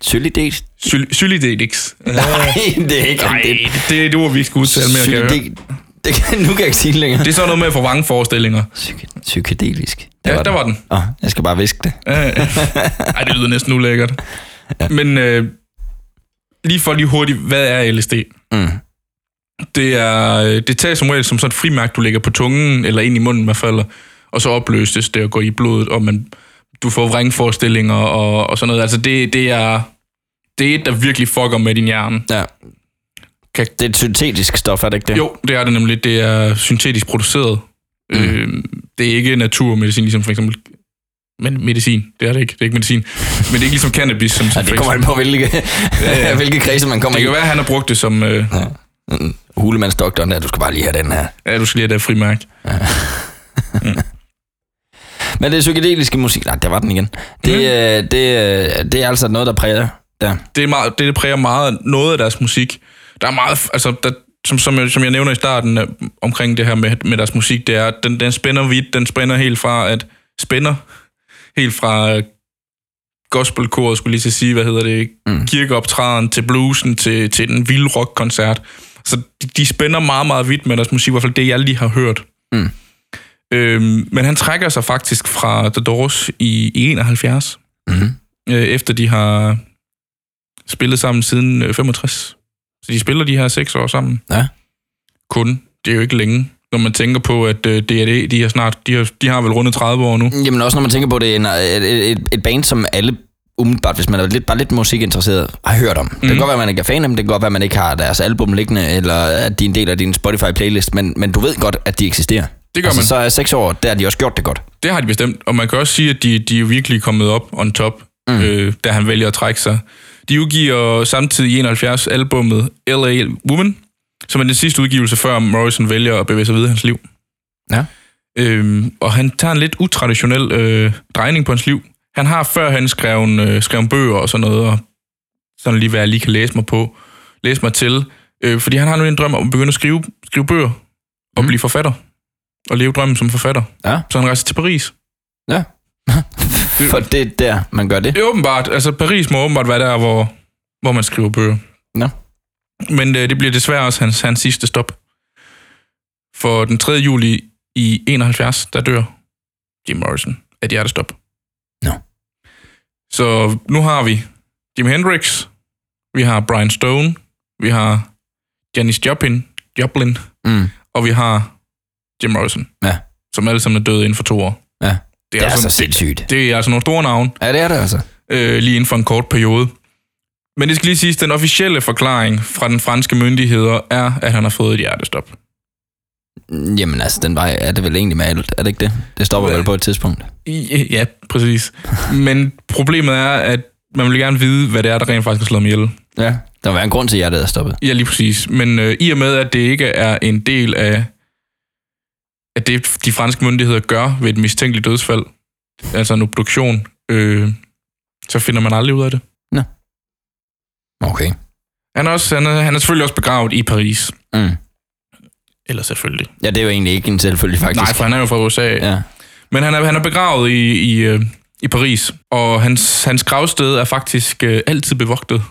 S3: Solidarisk?
S2: Syl- (laughs) Sylidedix.
S3: Nej, (laughs) det er ikke
S2: Nej,
S3: rigtigt.
S2: det, det er et ord, vi ikke skal udtale mere, kan jeg høre.
S3: Psykedel- det kan, nu kan jeg ikke sige det længere.
S2: Det er sådan noget med at få mange forestillinger.
S3: Psyke- psykedelisk.
S2: Ja, der var den.
S3: Åh, jeg skal bare viske det.
S2: Ej, det lyder næsten ulækkert. Men øh, lige for lige hurtigt, hvad er LSD? Mm. Det, er, øh, det tages som regel som sådan et frimærk, du lægger på tungen, eller ind i munden i hvert fald, og så opløses det og går i blodet, og man, du får vrangforestillinger og, og sådan noget. Altså det, det er det er et, der virkelig fucker med din hjerne.
S3: Ja.
S2: Kan-
S3: Det er et syntetisk stof, er det ikke det?
S2: Jo, det er det nemlig. Det er syntetisk produceret. Mm. Øh, det er ikke naturmedicin, ligesom for eksempel... Men medicin, det er det ikke. Det er ikke medicin. Men det er ikke ligesom cannabis, som...
S3: Ja,
S2: som for
S3: det kommer an
S2: eksempel-
S3: på, hvilke, ja. (laughs) hvilke kredse man kommer
S2: det
S3: i.
S2: kan være, at han har brugt det som... Øh,
S3: Mm, Hulemandsdoktoren der, du skal bare lige have den her.
S2: ja, du skal lige have det her frimærke.
S3: Men det psykedeliske musik, nej, der var den igen. Det, mm. øh, det, øh, det er altså noget, der præger der.
S2: det, er meget, det præger meget noget af deres musik. Der er meget, altså, der, som, som, jeg, som jeg nævner i starten øh, omkring det her med, med deres musik, det er, at den, den spænder vidt, den spænder helt fra, at spænder helt fra øh, gospelkoret, skulle jeg lige til at sige, hvad hedder det, mm. kirkeoptræden til bluesen, til, til den vilde rockkoncert. Så de, de spænder meget, meget vidt med deres musik, i hvert fald det, jeg lige har hørt.
S3: Mm.
S2: Øhm, men han trækker sig faktisk fra The Doors i, i 71
S3: Mm.
S2: øh, efter de har spillet sammen siden øh, 65. Så de spiller de her seks år sammen.
S3: Ja.
S2: Kun. Det er jo ikke længe, når man tænker på, at øh, DRD, de har snart, de har, de har vel rundet 30 år nu.
S3: Jamen også når man tænker på, det er en, et, et, et band, som alle umiddelbart, hvis man er lidt, bare lidt musikinteresseret, har hørt om. Mm. Det kan godt være, at man ikke er fan af dem, det kan godt være, at man ikke har deres album liggende, eller at de er en del af din Spotify-playlist, men, men du ved godt, at de eksisterer.
S2: Det gør
S3: altså,
S2: man.
S3: Så er seks år, der har de også gjort det godt.
S2: Det har de bestemt. Og man kan også sige, at de, de er virkelig kommet op on top, mm. øh, da han vælger at trække sig. De udgiver samtidig i 71 albummet L.A. Woman, som er den sidste udgivelse, før Morrison vælger at bevæge sig videre i hans liv.
S3: Ja.
S2: Øhm, og han tager en lidt utraditionel øh, drejning på hans liv. Han har førhen skrevet, øh, skrevet bøger og sådan noget, og sådan lige hvad jeg lige kan læse mig på, læse mig til. Øh, fordi han har nu en drøm om at begynde at skrive, skrive bøger og mm. blive forfatter. Og leve drømmen som forfatter.
S3: Ja.
S2: Så han rejser til Paris.
S3: Ja. (laughs) For det er der, man gør det.
S2: Det er åbenbart. Altså, Paris må åbenbart være der, hvor, hvor man skriver bøger.
S3: Nå.
S2: Men øh, det bliver desværre også hans, hans sidste stop. For den 3. juli i 71, der dør Jim Morrison af et hjertestop.
S3: Nå.
S2: Så nu har vi Jim Hendrix, vi har Brian Stone, vi har Janis Joplin, Joplin
S3: Mm.
S2: og vi har Jim Morrison,
S3: Ja.
S2: som alle sammen er døde inden for to år.
S3: Ja.
S2: Det
S3: Det er
S2: altså,
S3: så sindssygt.
S2: det er altså nogle store navne
S3: Ja, det er det altså.
S2: øh, lige inden for en kort periode. Men det skal lige siges, den officielle forklaring fra den franske myndigheder er, at han har fået et hjertestop.
S3: Jamen altså, den vej er det vel egentlig med alt, er det ikke det? Det stopper vel på et tidspunkt.
S2: I- øh, Ja, præcis.
S3: (laughs)
S2: Men problemet er, at man vil gerne vide, hvad det er, der rent faktisk har slået mig ihjel.
S3: Ja. Der må være en grund til, at hjertet er stoppet.
S2: Ja, lige præcis. Men øh, i og med, at det ikke er en del af at det, de franske myndigheder gør ved et mistænkeligt dødsfald, altså en obduktion, øh, så finder man aldrig ud af det.
S3: Okay.
S2: Han er, også, han, er, han er selvfølgelig også begravet i Paris.
S3: Mm.
S2: Eller selvfølgelig.
S3: Ja, det er jo egentlig ikke en selvfølgelig, faktisk.
S2: Nej, for han er jo fra USA.
S3: Ja.
S2: Men han er, han er begravet i, i, øh, i Paris, og hans, hans gravsted er faktisk øh, altid bevogtet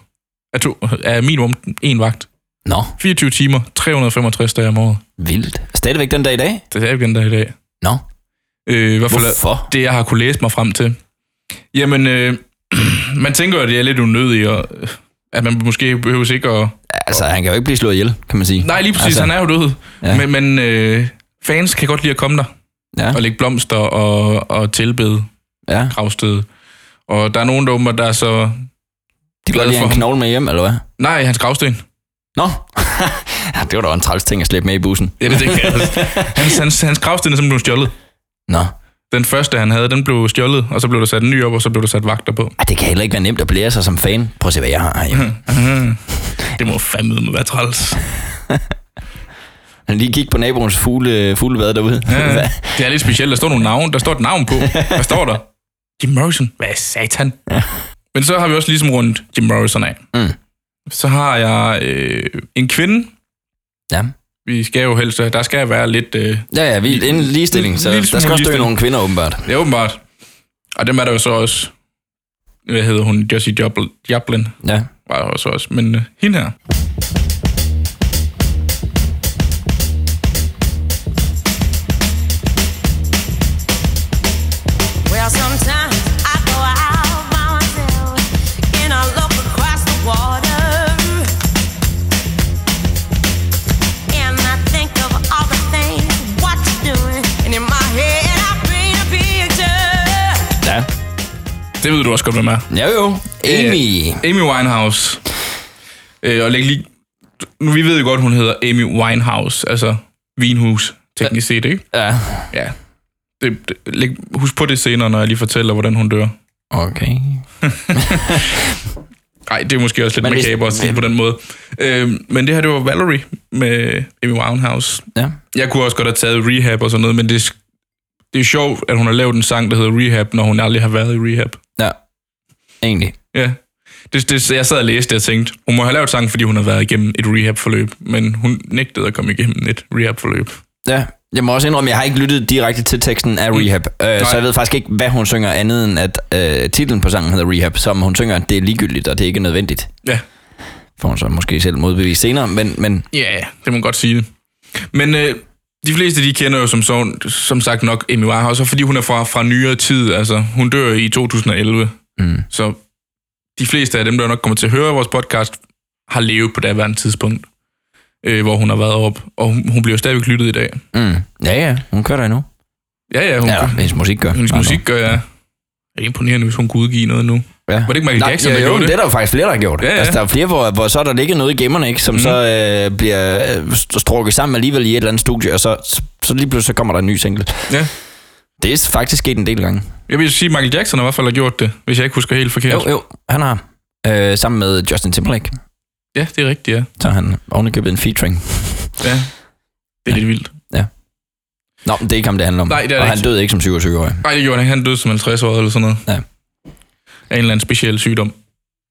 S2: af, to, af minimum en vagt.
S3: Nå,
S2: 24 timer, 365 dage om året.
S3: vildt. Altså, Stadigvæk den dag i dag?
S2: Det er jeg igen der i dag.
S3: Nå,
S2: Øh, I hvert fald
S3: hvorfor?
S2: det, jeg har kunne læse mig frem til. Jamen, øh, (clears throat) man tænker jo, at det er lidt unødigt, og øh, at man måske behøver ikke at...
S3: Altså, han kan jo ikke blive slået ihjel, kan man sige.
S2: Nej, lige præcis, altså,
S3: Altså,
S2: han er jo død.
S3: Ja.
S2: Ja. Men, men øh, fans kan godt lide at komme der
S3: Ja,
S2: og lægge blomster og, og tilbede
S3: ja.
S2: gravstedet. Og der er nogen, der åbenbart, der er så
S3: De kan
S2: glad
S3: godt
S2: for
S3: lige have en
S2: ham.
S3: knogle med hjem, eller hvad?
S2: Nej, hans gravsten.
S3: Nå, (laughs) ja, det var da en træls ting at slæbe med i bussen.
S2: Ja, det tænker jeg også.
S3: (laughs)
S2: Hans, hans, hans gravsten er simpelthen blevet stjålet.
S3: Nå,
S2: Den første, han havde, den blev stjålet, og så blev der sat en ny op, og så blev der sat vagter på.
S3: Ej, det kan heller ikke være nemt at blære sig som fan. Prøv at se, hvad jeg har herhjemme.
S2: Mhm. Det må fandme med være træls.
S3: Han lige kigge på naboens fugle, fuglebad derude.
S2: Ja,
S3: Hvad?
S2: det er lidt specielt. Der står nogle navn. Der står et navn på. Hvad står der? Jim Morrison. Hvad er satan? Men så har vi også ligesom rundt Jim Morrison af.
S3: Mm.
S2: Så har jeg øh, en kvinde.
S3: (laughs) Ja.
S2: Vi skal jo helst, der skal være lidt... Øh,
S3: Ja, ja, vi, en ligestilling, så
S2: Lille
S3: der skal
S2: smule
S3: også dø
S2: ligestilling.
S3: nogle kvinder, åbenbart.
S2: det er åbenbart. Og dem er der jo så også... Hvad hedder hun? Josie Joplin. Joplin.
S3: Ja.
S2: var der også også, men øh, hende her.
S5: Well, sometimes I go out by myself and I look across the water and I think of all the things what you're doing, and in my head I paint a picture.
S3: Ja.
S2: Det ved du også godt, hvem er.
S3: Ja jo, Amy.
S2: Øh, Amy Winehouse. Øh, og læg lige... Nu, vi ved jo godt, hun hedder Amy Winehouse, altså vinhus, teknisk set, ikke?
S3: Ja.
S2: Ja. Det, det, læg, husk på det senere, når jeg lige fortæller, hvordan hun dør.
S3: Okay.
S2: Nej, det er måske også lidt
S3: Men hvis-
S2: makaber at sige på den måde. Øh, men det her, det var Valerie med Amy Winehouse.
S3: Ja.
S2: Jeg kunne også godt have taget Rehab og sådan noget, men det, er sk- det er sjovt, at hun har lavet en sang, der hedder Rehab, når hun aldrig har været i Rehab.
S3: Ja. Egentlig.
S2: Ja. Det, det, så jeg sad og læste det og tænkte, hun må have lavet sangen, fordi hun har været igennem et rehab-forløb, men hun nægtede at komme igennem et rehab-forløb.
S3: Ja. Jeg må også indrømme, jeg har ikke lyttet direkte til teksten af Rehab, øh,
S2: Mm.
S3: så
S2: Nej.
S3: jeg ved faktisk ikke, hvad hun synger andet end, at øh, titlen på sangen hedder Rehab, som hun synger, det er ligegyldigt, og det er ikke nødvendigt.
S2: Ja.
S3: Får hun så måske selv modbevist senere, men, men
S2: Ja, yeah, det må man godt sige det. Men øh, de fleste, de kender jo som, så, som sagt nok Amy Winehouse, og fordi hun er fra, fra nyere tid. Altså, hun dør i 2011.
S3: Mm.
S2: Så de fleste af dem, der nok kommer til at høre vores podcast, har levet på daværende tidspunkt, øh, hvor hun har været op. Og hun, hun bliver jo stadigvæk lyttet i dag.
S3: mm, ja ja, hun kører der endnu.
S2: Ja, ja, hun,
S3: Ja,
S2: ja,
S3: hendes musik gør.
S2: hendes
S3: Nå, nå.
S2: musik gør jeg. Det er imponerende, hvis hun kunne udgive noget nu.
S3: Ja. Var
S2: det ikke Michael Jackson, der
S3: ja,
S2: gjorde
S3: jo,
S2: det?
S3: det? er der jo faktisk flere, der har gjort.
S2: Ja, Mhm.
S3: Ja,
S2: ja.
S3: ja. Altså, der er flere, hvor, hvor så er der ligger noget i gemmerne, ikke, som mm. så øh, bliver øh, st- strukket sammen alligevel i et eller andet studie, og så, så lige pludselig så kommer der en ny single.
S2: Ja.
S3: Det er faktisk sket en del gange.
S2: Jeg vil sige, at Michael Jackson har i hvert fald har gjort det, hvis jeg ikke husker helt forkert.
S3: Jo, jo, han har. Øh, sammen med Justin Timberlake,
S2: Ja, det er rigtigt, ja.
S3: så har han ovenikøbet en featuring.
S2: ja. Det er lidt vildt.
S3: Nå, men det er ikke ham, det handler om.
S2: Nej, det er det
S3: og han
S2: ikke.
S3: døde ikke som 27-årig.
S2: Nej, det gjorde han ikke. Han døde som 50 år eller sådan noget.
S3: Ja.
S2: Af en eller anden speciel sygdom.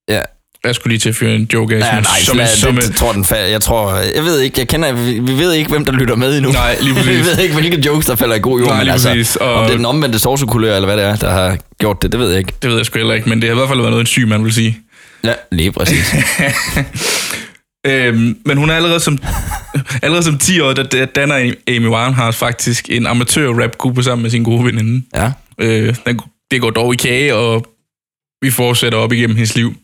S3: Ja.
S2: Jeg skulle lige til at fyre en joke af.
S3: Ja,
S2: som-
S3: nej,
S2: som,
S3: som,
S2: en-
S3: det,
S2: som,
S3: det,
S2: en-
S3: tror den fa- jeg tror, jeg ved ikke, jeg kender, vi, vi ved ikke, hvem der lytter med endnu.
S2: Nej,
S3: (laughs)
S2: lige præcis.
S3: vi ved ikke, hvilke jokes, der falder i god jord,
S2: Nej,
S3: men
S2: lige
S3: altså,
S2: præcis, og-
S3: og... om det er den omvendte sovsekulør, eller hvad det er, der har gjort det, det ved jeg ikke.
S2: det ved jeg sgu heller ikke, men det har i hvert fald været noget, en syg mand vil sige.
S3: Ja, lige
S2: (laughs)
S3: præcis.
S2: Øhm, men hun er allerede som, (laughs) allerede som 10 år, der, der danner Amy Winehouse faktisk en amatør-rap-gruppe sammen med sin gode veninde.
S3: ja.
S2: Øh, den, det går dog i kage, og vi fortsætter op igennem hendes liv.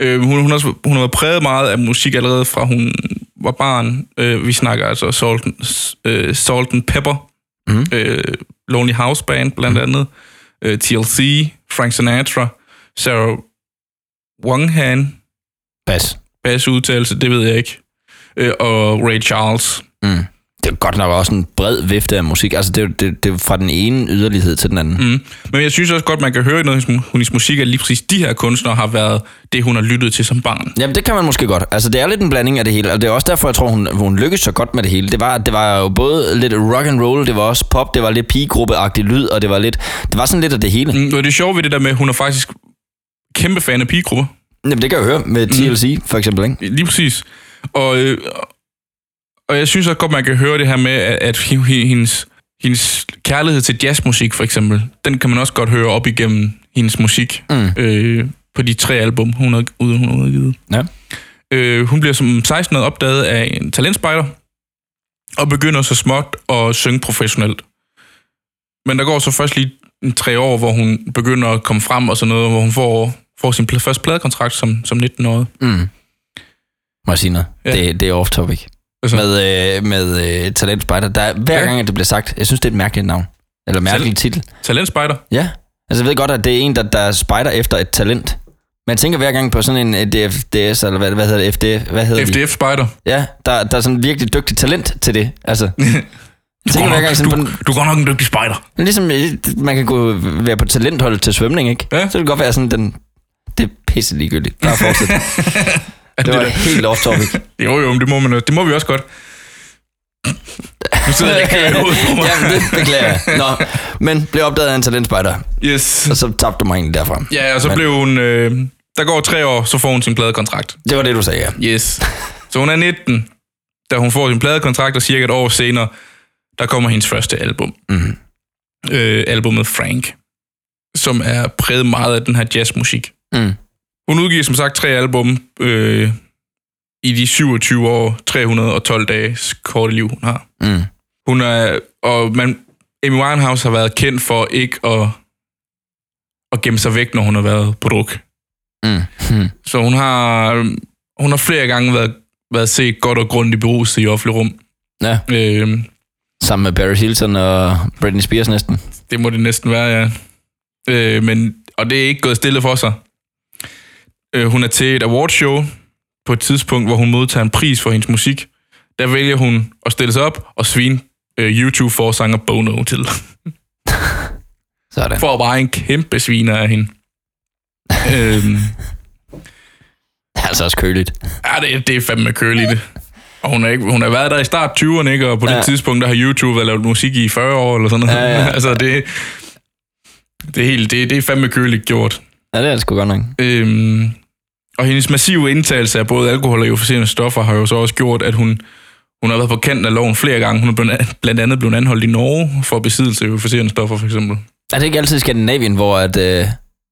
S2: Øh, hun, hun, har, også- hun har været præget meget af musik allerede fra hun var barn. Øh, vi snakker altså Salt, and- s- øh, Salt and Pepper,
S3: Mhm.
S2: øh, Lonely House Band blandt andet, øh, TLC, Frank Sinatra, Sarah Wonghan,
S3: Pas.
S2: bass udtalelse, det ved jeg ikke, øh, og Ray Charles.
S3: Mm. Det er jo godt nok også en bred vifte af musik. Altså, det er, jo- det, det er jo fra den ene yderlighed til den anden. Mm.
S2: Mm. Men jeg synes også godt, man kan høre i noget af hendes mu- hendes musik, at lige præcis de her kunstnere har været det, hun har lyttet til som barn.
S3: Jamen, det kan man måske godt. Altså, det er lidt en blanding af det hele, og det er også derfor, jeg tror, hun, hun lykkedes så godt med det hele. Det var, det var jo både lidt rock and roll, det var også pop, det var lidt pigegruppeagtig lyd, og det var lidt, det var sådan lidt af det hele. Mm.
S2: Mm, og det sjove ved det der med, at hun er faktisk kæmpe fan af pigegrupper.
S3: Jamen, det kan jeg jo høre
S2: Mhm.
S3: med TLC, mm. for eksempel, ikke?
S2: Lige præcis. Og, øh, og jeg synes også godt, man kan høre det her med, at, at h- h- hendes, hendes kærlighed til jazzmusik, for eksempel, den kan man også godt høre op igennem hendes musik
S3: Mm.
S2: øh, på de tre album, hun har, ud- hun har udgivet.
S3: Ja.
S2: Øh, hun bliver som 16 opdaget af en talentspejder, og begynder så småt at synge professionelt. Men der går så først lige en tre år, hvor hun begynder at komme frem og sådan noget, hvor hun får, får sin pl- første pladekontrakt som, som 19-årig.
S3: Mm. Må jeg sige noget?
S2: Ja.
S3: Ja. Det, det er off-topic.
S2: Hvad så?
S3: Med, øh, med øh, Talent Spider, der, er- hver
S2: Ja.
S3: ja. gang, at det bliver sagt, jeg synes, det er et mærkeligt navn. Eller mærkelig titel.
S2: Talentspejder?
S3: Ja. Altså, jeg ved godt, at det er en, der, der spejder efter et talent. Men jeg tænker hver gang på sådan en øh, DFDS, eller hvad, hvad hedder det? FD, hvad hedder de?
S2: FDF Spider.
S3: Ja, der, der er sådan virkelig dygtig talent til det.
S2: (laughs)
S3: Altså, jeg tænker hver gang sådan på den,
S2: du er godt nok en dygtig spider.
S3: men ligesom, øh, man kan gå være på talentholdet til svømning, ikke?
S2: Ja.
S3: Så det kan godt være sådan, den, det er pisse ligegyldigt. Bare
S2: (laughs)
S3: fortsæt. det var helt (laughs) off-topic.
S2: Jo, jo, men det må, man, også- det må vi også godt. Nu sidder jeg og kører i
S3: (laughs)
S2: hovedet på mig.
S3: Jamen, det beklager jeg. Nå, men blev opdaget af en talentspejder,
S2: Yes.
S3: og så tabte du mig egentlig derfra.
S2: Ja, og så
S3: Men-
S2: blev hun... Øh, der går tre år, så får hun sin pladekontrakt.
S3: Det var det, du sagde, ja.
S2: Yes. Så hun er 19, da hun får sin pladekontrakt, og cirka et år senere, der kommer hendes første album.
S3: Mhm.
S2: Øh, albumet Frank, som er præget meget af den her jazzmusik.
S3: Mm.
S2: Hun udgiver som sagt tre album øh, i de 27 år, 312 dages korte liv, hun har.
S3: Mm.
S2: Hun er, og man, Amy Winehouse har været kendt for ikke at, at gemme sig væk, når hun har været på druk.
S3: Mm. Mm.
S2: Så hun har, øhm, hun har flere gange været, været set godt og grundigt beruset i offentlig rum.
S3: Ja,
S2: Øh,
S3: sammen med Barry Hilton og Britney Spears næsten.
S2: det må det næsten være, ja. Øh, men og det er ikke gået stille for sig. Øh, hun er til et awardshow på et tidspunkt, hvor hun modtager en pris for hendes musik. Der vælger hun at stille sig op og svine øh, YouTube-forsanger Bono til. (laughs)
S3: Sådan.
S2: Får bare en kæmpe sviner af hende. øhm,
S3: Det er altså også køligt.
S2: ja, det, det er fandme køl i det. Og hun har, ikke, hun har været der i start 20'erne, ikke? og på ja.
S3: Ja.
S2: det tidspunkt, der har YouTube været lavet musik i 40 år, eller sådan noget.
S3: Ja, ja.
S2: (laughs) altså, det, det, er helt, det, det er fandme køligt gjort.
S3: Ja, det er det sgu godt nok.
S2: Øhm, og hendes massive indtagelse af både alkohol og euforiserende stoffer har jo så også gjort, at hun, hun har været på kanten af loven flere gange. Hun er blevet- blandt andet blevet anholdt i Norge for besiddelse af euforiserende stoffer, for eksempel.
S3: Er det ikke altid i Skandinavien, hvor at, øh,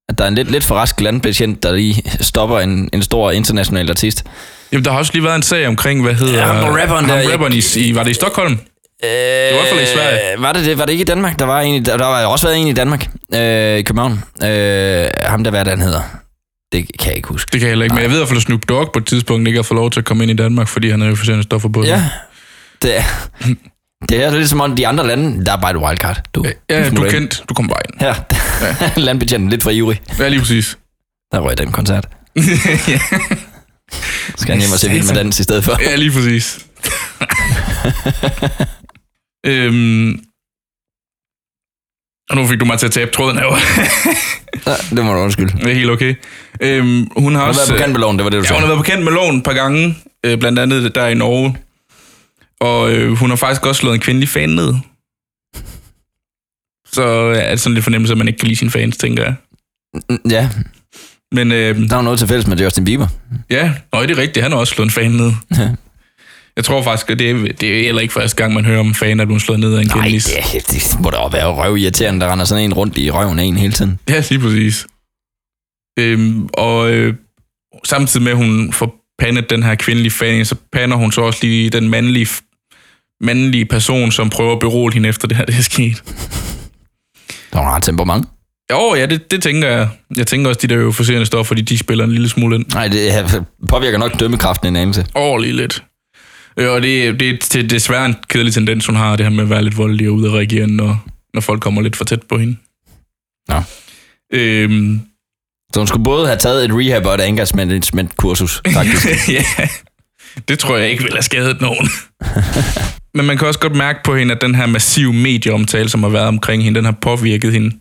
S3: at der er en lidt, lidt for rask landbetjent, der lige stopper en, en stor international artist?
S2: Jamen, der har også lige været en sag omkring, hvad hedder...
S3: Ja, ham rapperen der,
S2: ham
S3: jeg-
S2: rapperen i, i, var det i Stockholm?
S3: Øh, det
S2: var i hvert fald i Sverige.
S3: Var det det? Var det ikke i Danmark? Der var en i, der, der var også været en i Danmark. Øh, i København. Øh, ham der, hvad er det, han hedder? Det kan jeg ikke huske.
S2: Det kan jeg heller ikke, men jeg ved i hvert fald, at Snoop Dogg på et tidspunkt ikke har fået lov til at komme ind i Danmark, fordi han havde euforiserende stoffer på sig.
S3: Ja. Det er, det er lidt som om de andre lande, der er bare et wildcard. Du,
S2: ja du
S3: smutter
S2: er
S3: ind.
S2: kendt. Du kom bare ind.
S3: Her. Ja. (laughs) Landbetjenten lidt for ivrig.
S2: Ja, lige
S3: (laughs)
S2: præcis.
S3: Der røg den koncert.
S2: ja.
S3: Skal han hjem og se vild med dans i stedet for?
S2: (laughs) Ja, lige
S3: (laughs)
S2: præcis. øhm. Og nu fik du mig til at tabe tråden her.
S3: Ja, det må du undskylde.
S2: det er helt okay. Øhm, hun har
S3: Hun har
S2: også...
S3: været på kant med loven, det var det, du
S2: Ja, hun har
S3: sagde.
S2: været bekendt med loven et par gange, øh, blandt andet der i Norge. Og øh, hun har faktisk også slået en kvindelig fan ned. Så øh, er det sådan lidt fornemmelse, at man ikke kan lide sine fans, tænker jeg.
S3: Ja,
S2: Men øh,
S3: der er hun noget til fælles med Justin Bieber.
S2: ja, nøj, det er rigtigt, han har også slået en fan ned.
S3: Ja.
S2: Jeg tror faktisk, at det er, det er heller ikke første gang, man hører om en fan, at hun slået ned af en
S3: Nej,
S2: kvindelig.
S3: det, er- det må da også være røvirriterende, der render sådan en rundt i røven af en hele tiden.
S2: Ja, lige præcis. Øhm, og øh, samtidig med, at hun får pandet den her kvindelige fan, så pander hun så også lige den mandlige, mandlige person, som prøver at berolige hende efter det her, det er sket.
S3: Der har temperament.
S2: Jo, ja, det, det tænker jeg. Jeg tænker også, de der euforiserende stoffer, fordi de spiller en lille smule ind.
S3: Nej, det er- påvirker nok dømmekraften en anelse.
S2: Overlig lidt. Øh, og det, det, det er desværre en kedelig tendens, hun har, det her med at være lidt voldelig og ude af reagere, når, når folk kommer lidt for tæt på hende.
S3: Nå.
S2: Øhm,
S3: Så hun skulle både have taget et rehab og et angersmanagement-kursus,
S2: (laughs)
S3: faktisk.
S2: ja, det tror jeg ikke vil have skadet nogen. Men man kan også godt mærke på hende, at den her massive medieomtale, som har været omkring hende, den har påvirket hende.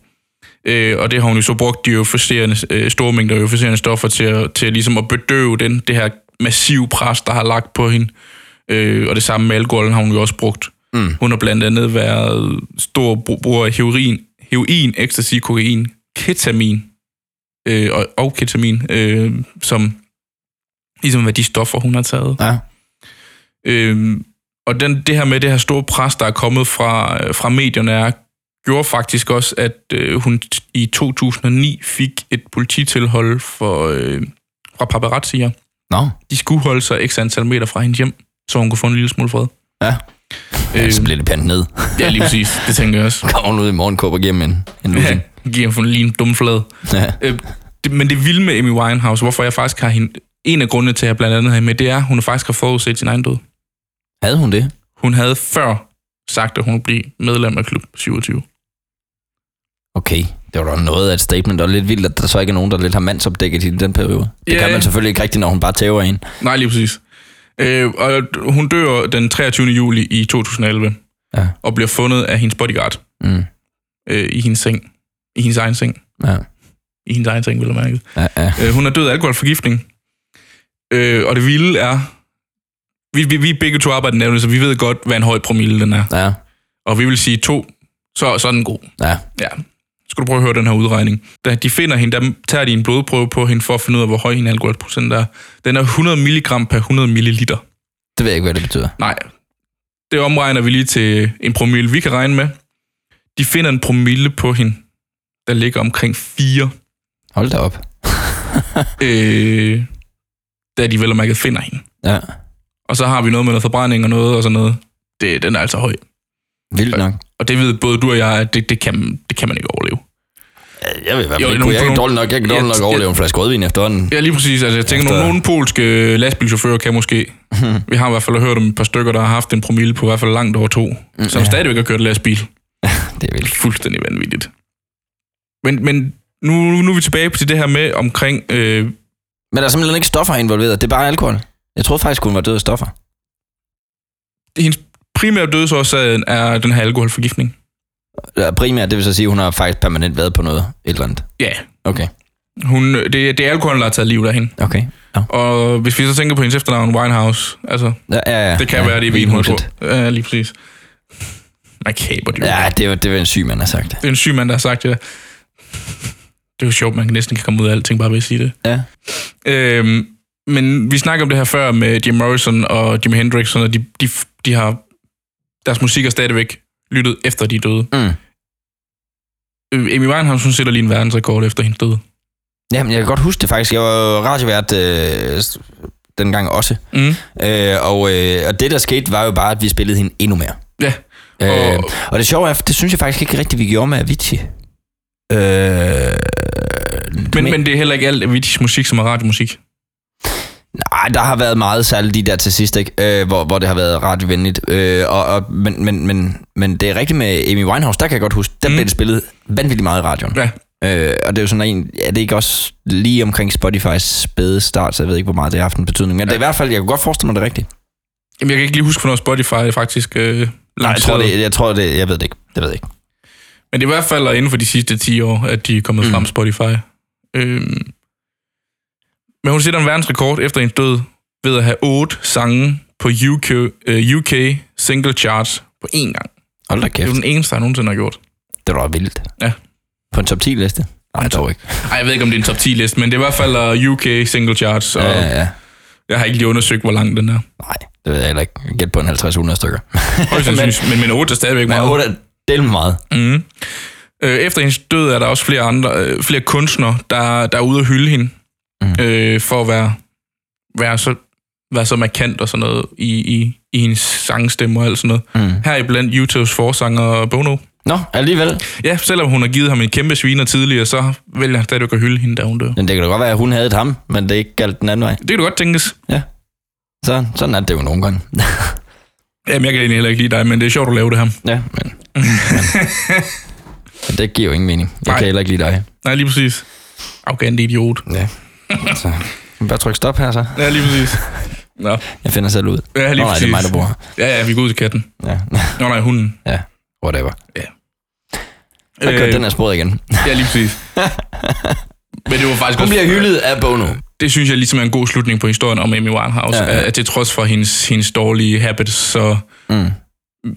S2: Øh, og det har hun jo så brugt de euforiserende, øh, store mængder euforiserende stoffer til, at- til ligesom at bedøve den, det her massive pres, der har lagt på hende. Øh, og det samme med alkoholen har hun jo også brugt. Mm. Hun har blandt andet været stor brug- bruger af heroin, heroin ecstasy, kokain, ketamin øh, og, og ketamin, øh, som ligesom hvad de stoffer, hun har taget.
S3: (laughs) ja.
S2: Øhm, og den, det her med det her store pres, der er kommet fra, øh, fra medierne, er, gjorde faktisk også, at øh, hun t- i 2009 fik et polititilhold for, øh, fra paparazzier.
S3: Nå,
S2: De skulle holde sig x antal meter fra hendes hjem, så hun kunne få en lille smule fred.
S3: ja. Øh. Så
S2: Øhm,
S3: bliver det pandt ned. (laughs)
S2: ja, lige præcis. (laughs) Det tænker jeg også.
S3: Kommer hun ud i morgenkåb og giver dem en, en
S2: Ja,
S3: lussing.
S2: giver hun lige en dum flad.
S3: Ja.
S2: Øh, det, men det vilde med Amy Winehouse, hvorfor jeg faktisk har hende... En af grundene til, at jeg blandt andet har hende med, det er, at hun faktisk har forudset sin egen død.
S3: Havde hun det?
S2: Hun havde før sagt, at hun ville blive medlem af klub 27.
S3: Okay, det var da noget af et statement, og lidt vildt, at der så ikke er nogen, der lidt har mandsopdækket i den periode. Det
S2: Ja,
S3: yeah. kan
S2: ja.
S3: man selvfølgelig ikke rigtigt, når hun bare tæver en.
S2: Nej, lige præcis. Øh, og hun dør den 23. juli i 2011
S3: Ja.
S2: og bliver fundet af hendes bodyguard
S3: Mm.
S2: øh, i hendes seng. I hendes egen seng.
S3: Ja.
S2: I hendes egen seng, vil jeg mærke.
S3: Ja, ja.
S2: Øh, hun er død af alkoholforgiftning. Øh, og det vilde er... Vi, vi, vi er begge to arbejder i nævnet, så vi ved godt, hvad en høj promille den er.
S3: ja.
S2: Og vi vil sige to, så, så er den god.
S3: ja.
S2: Ja. Skal du prøve at høre den her udregning. Da de finder hende, der tager de en blodprøve på hende for at finde ud af, hvor høj en alkoholprocent er. Den er 100 mg per 100 ml.
S3: Det ved jeg ikke, hvad det betyder.
S2: Nej, det omregner vi lige til en promille, vi kan regne med. De finder en promille på hende, der ligger omkring 4,
S3: Hold da op.
S2: øh, da de vel og mærket finder hende.
S3: Ja.
S2: Og så har vi noget med noget forbrænding og noget og sådan noget. Det, den er altså høj.
S3: Vildt nok.
S2: Og det ved både du og jeg, at det, det, kan, det kan man ikke overleve.
S3: Øh, Jeg ved i hvert
S2: Jo,
S3: fald ikke,
S2: nogen-
S3: jeg kan
S2: nogen-
S3: dårligt nok, jeg kan dårligt
S2: Ja,
S3: nok
S2: ja.
S3: overleve en flaske rødvin efterhånden.
S2: Ja, lige præcis. Altså, jeg tænker, nogle, nogle polske lastbilchauffører kan måske. Vi har i hvert fald hørt om et par stykker, der har haft en promille på i hvert fald langt over to,
S3: Mm,
S2: som stadigvæk har kørt lastbil.
S3: Det er vildt.
S2: fuldstændig vanvittigt. Men, men nu, nu er vi tilbage til det her med omkring... Øh,
S3: Men der er simpelthen ikke stoffer involveret, det er bare alkohol. Jeg troede faktisk, hun var død af stoffer.
S2: hendes primære dødsårsag er den her alkoholforgiftning.
S3: Eller Primært, det vil så sige, at hun har faktisk permanent været på noget et eller andet.
S2: Ja,
S3: Okay,
S2: hun, det, det er alkoholen, der har taget livet af hende.
S3: okay. Ja,
S2: Og hvis vi så tænker på hendes efternavn, Winehouse, altså,
S3: ja, ja, ja
S2: det kan ja,
S3: ja,
S2: være, det er vinhuset. Ja, lige præcis. Makaber, det
S3: Ja,
S2: ja.
S3: det var, det var en syg mand, har sagt det.
S2: Det er en syg mand, der har sagt det. der. Det er jo sjovt, man næsten kan komme ud af alting bare ved at sige det.
S3: Ja.
S2: Øhm, men vi snakker om det her før med Jim Morrison og Jimi Hendrix, og de, de, de har deres musik er stadigvæk lyttet efter de er døde.
S3: Mm.
S2: Øh, Amy Winehouse, hun sætter lige en verdensrekord efter hendes død.
S3: Jamen, jeg kan godt huske det faktisk. Jeg var jo radiovært øh, s- dengang også.
S2: Mm.
S3: Øh, og, øh, og det, der skete, var jo bare, at vi spillede hende endnu mere.
S2: Ja.
S3: Øh,
S2: Og-
S3: og det sjove er, det synes jeg faktisk ikke rigtigt, vi gjorde med Avicii. Øh,
S2: Men, men det er heller ikke alt Avicii's musik, som er radiomusik.
S3: Nej, der har været meget særligt lige der til sidst, ikke? Øh, hvor, hvor det har været ret venligt. Øh, og, og, men, men, men, men det er rigtigt med Amy Winehouse, der kan jeg godt huske, der
S2: Mm.
S3: mm. blev det spillet vanvittigt meget i radioen.
S2: Ja.
S3: Øh, og det er jo sådan en, er det ikke også lige omkring Spotify's spæde start, så jeg ved ikke, hvor meget det har haft en betydning. Men ja. det er i hvert fald, jeg kunne godt forestille mig det er rigtigt.
S2: Jamen, jeg kan ikke lige huske, hvornår Spotify faktisk øh,
S3: Nej, jeg tror
S2: lancerede.
S3: det, jeg tror det, jeg ved det ikke. Det ved jeg ikke.
S2: Men det er i hvert fald inden for de sidste 10 år, at de er kommet mm.
S3: Mm.
S2: frem Spotify. Øhm. Men hun sætter en verdensrekord efter en død ved at have otte sange på UK, øh, UK single charts på én gang.
S3: Hold
S2: Det
S3: da
S2: er
S3: kæft,
S2: jo den eneste, der nogensinde har gjort.
S3: det var vildt.
S2: Ja.
S3: På en top 10 liste? Nej, dog ikke.
S2: Ej, jeg ved ikke, om det er en top 10-liste, men det er i hvert fald øh, UK single charts, og
S3: Ja, ja, ja.
S2: jeg har ikke lige undersøgt, hvor lang
S3: (laughs)
S2: den er.
S3: Nej, det ved jeg heller ikke. Gæt på en 50-100 stykker.
S2: Højst sandsynligt, men, men 8 er stadigvæk
S3: Men
S2: meget.
S3: 8 er delt meget.
S2: Mm. Øh, efter hendes død er der også flere andre, øh, flere kunstnere, der, der er ude at hylde hende, mm.
S3: Mm.
S2: øh, for at være, være, så, være så markant og sådan noget i, i, i hendes sangstemme og alt sådan noget.
S3: Mm.
S2: Her blandt YouTubes forsanger Bono.
S3: Nå, alligevel.
S2: Ja, selvom hun har givet ham en kæmpe sviner tidligere, så vælger han stadigvæk at hylde hende, da hun dør.
S3: Men det kan da godt være, at hun havde et ham, men det er ikke galt den anden vej.
S2: Det kan du godt tænkes.
S3: Så, sådan er det jo nogle (laughs) gange.
S2: Jamen, jeg kan egentlig heller ikke lide dig, men det er sjovt at lave det her.
S3: ja, men, men... det giver jo ingen mening. Jeg
S2: Nej.
S3: Nej. kan heller ikke lide dig.
S2: Nej, lige præcis. Arrogant idiot.
S3: Ja. Så. Bare tryk stop her så.
S2: Ja, lige præcis. Nå,
S3: Jeg finder selv ud.
S2: ja, lige
S3: Nå, nej,
S2: præcis.
S3: det er mig, der bor her.
S2: Ja, ja, vi går ud til katten.
S3: Ja, (laughs)
S2: Nå, nej, hunden.
S3: ja. whatever. Der
S2: Øh,
S3: kørte den her sporet igen.
S2: Ja, lige
S3: (laughs)
S2: præcis. Men det var faktisk
S3: Hun
S2: også,
S3: bliver hyldet af Bono.
S2: det synes jeg ligesom er en god slutning på historien om Amy Winehouse, ja,
S3: Ja,
S2: ja.
S3: ja.
S2: at til trods for hendes, hendes dårlige habits, så
S3: Mm.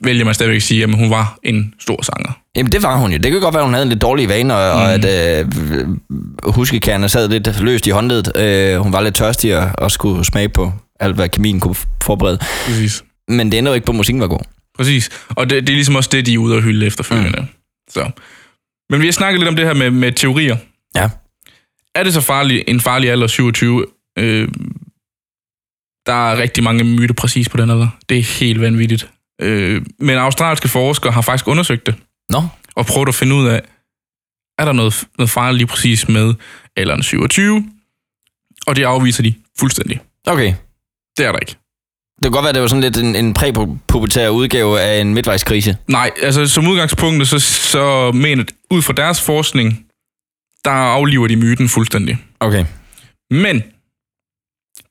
S2: vælger man stadigvæk at sige, at hun var en stor sanger.
S3: Jamen, det var hun jo. Det kan godt være, at hun havde en lidt dårlig vane, og, mm. og at øh, huskekerner sad lidt løst i håndledet. Øh, hun var lidt tørstig og, og skulle smage på alt, hvad kemien kunne forberede.
S2: Præcis.
S3: Men det ændrer jo ikke på, at musikken var god.
S2: Præcis. Og det, det er ligesom også det, de er ude og hylde efterfølgende. Mm. Så. Men vi har snakket lidt om det her med, med teorier.
S3: Ja.
S2: Er det så farlig, en farlig alder, 27? Øh, der er rigtig mange myter præcis på den alder. Det er helt vanvittigt. Øh, men australske forskere har faktisk undersøgt det.
S3: Nå,
S2: og prøvet at finde ud af, er der noget, noget farligt lige præcis med alderen 27? Og det afviser de fuldstændig.
S3: okay.
S2: Det er der ikke.
S3: Det kan godt være, det var sådan lidt en, en præpubertær udgave af en midtvejskrise.
S2: Nej, altså som udgangspunkt, så, så mener ud fra deres forskning, der afliver de myten fuldstændig.
S3: Okay.
S2: Men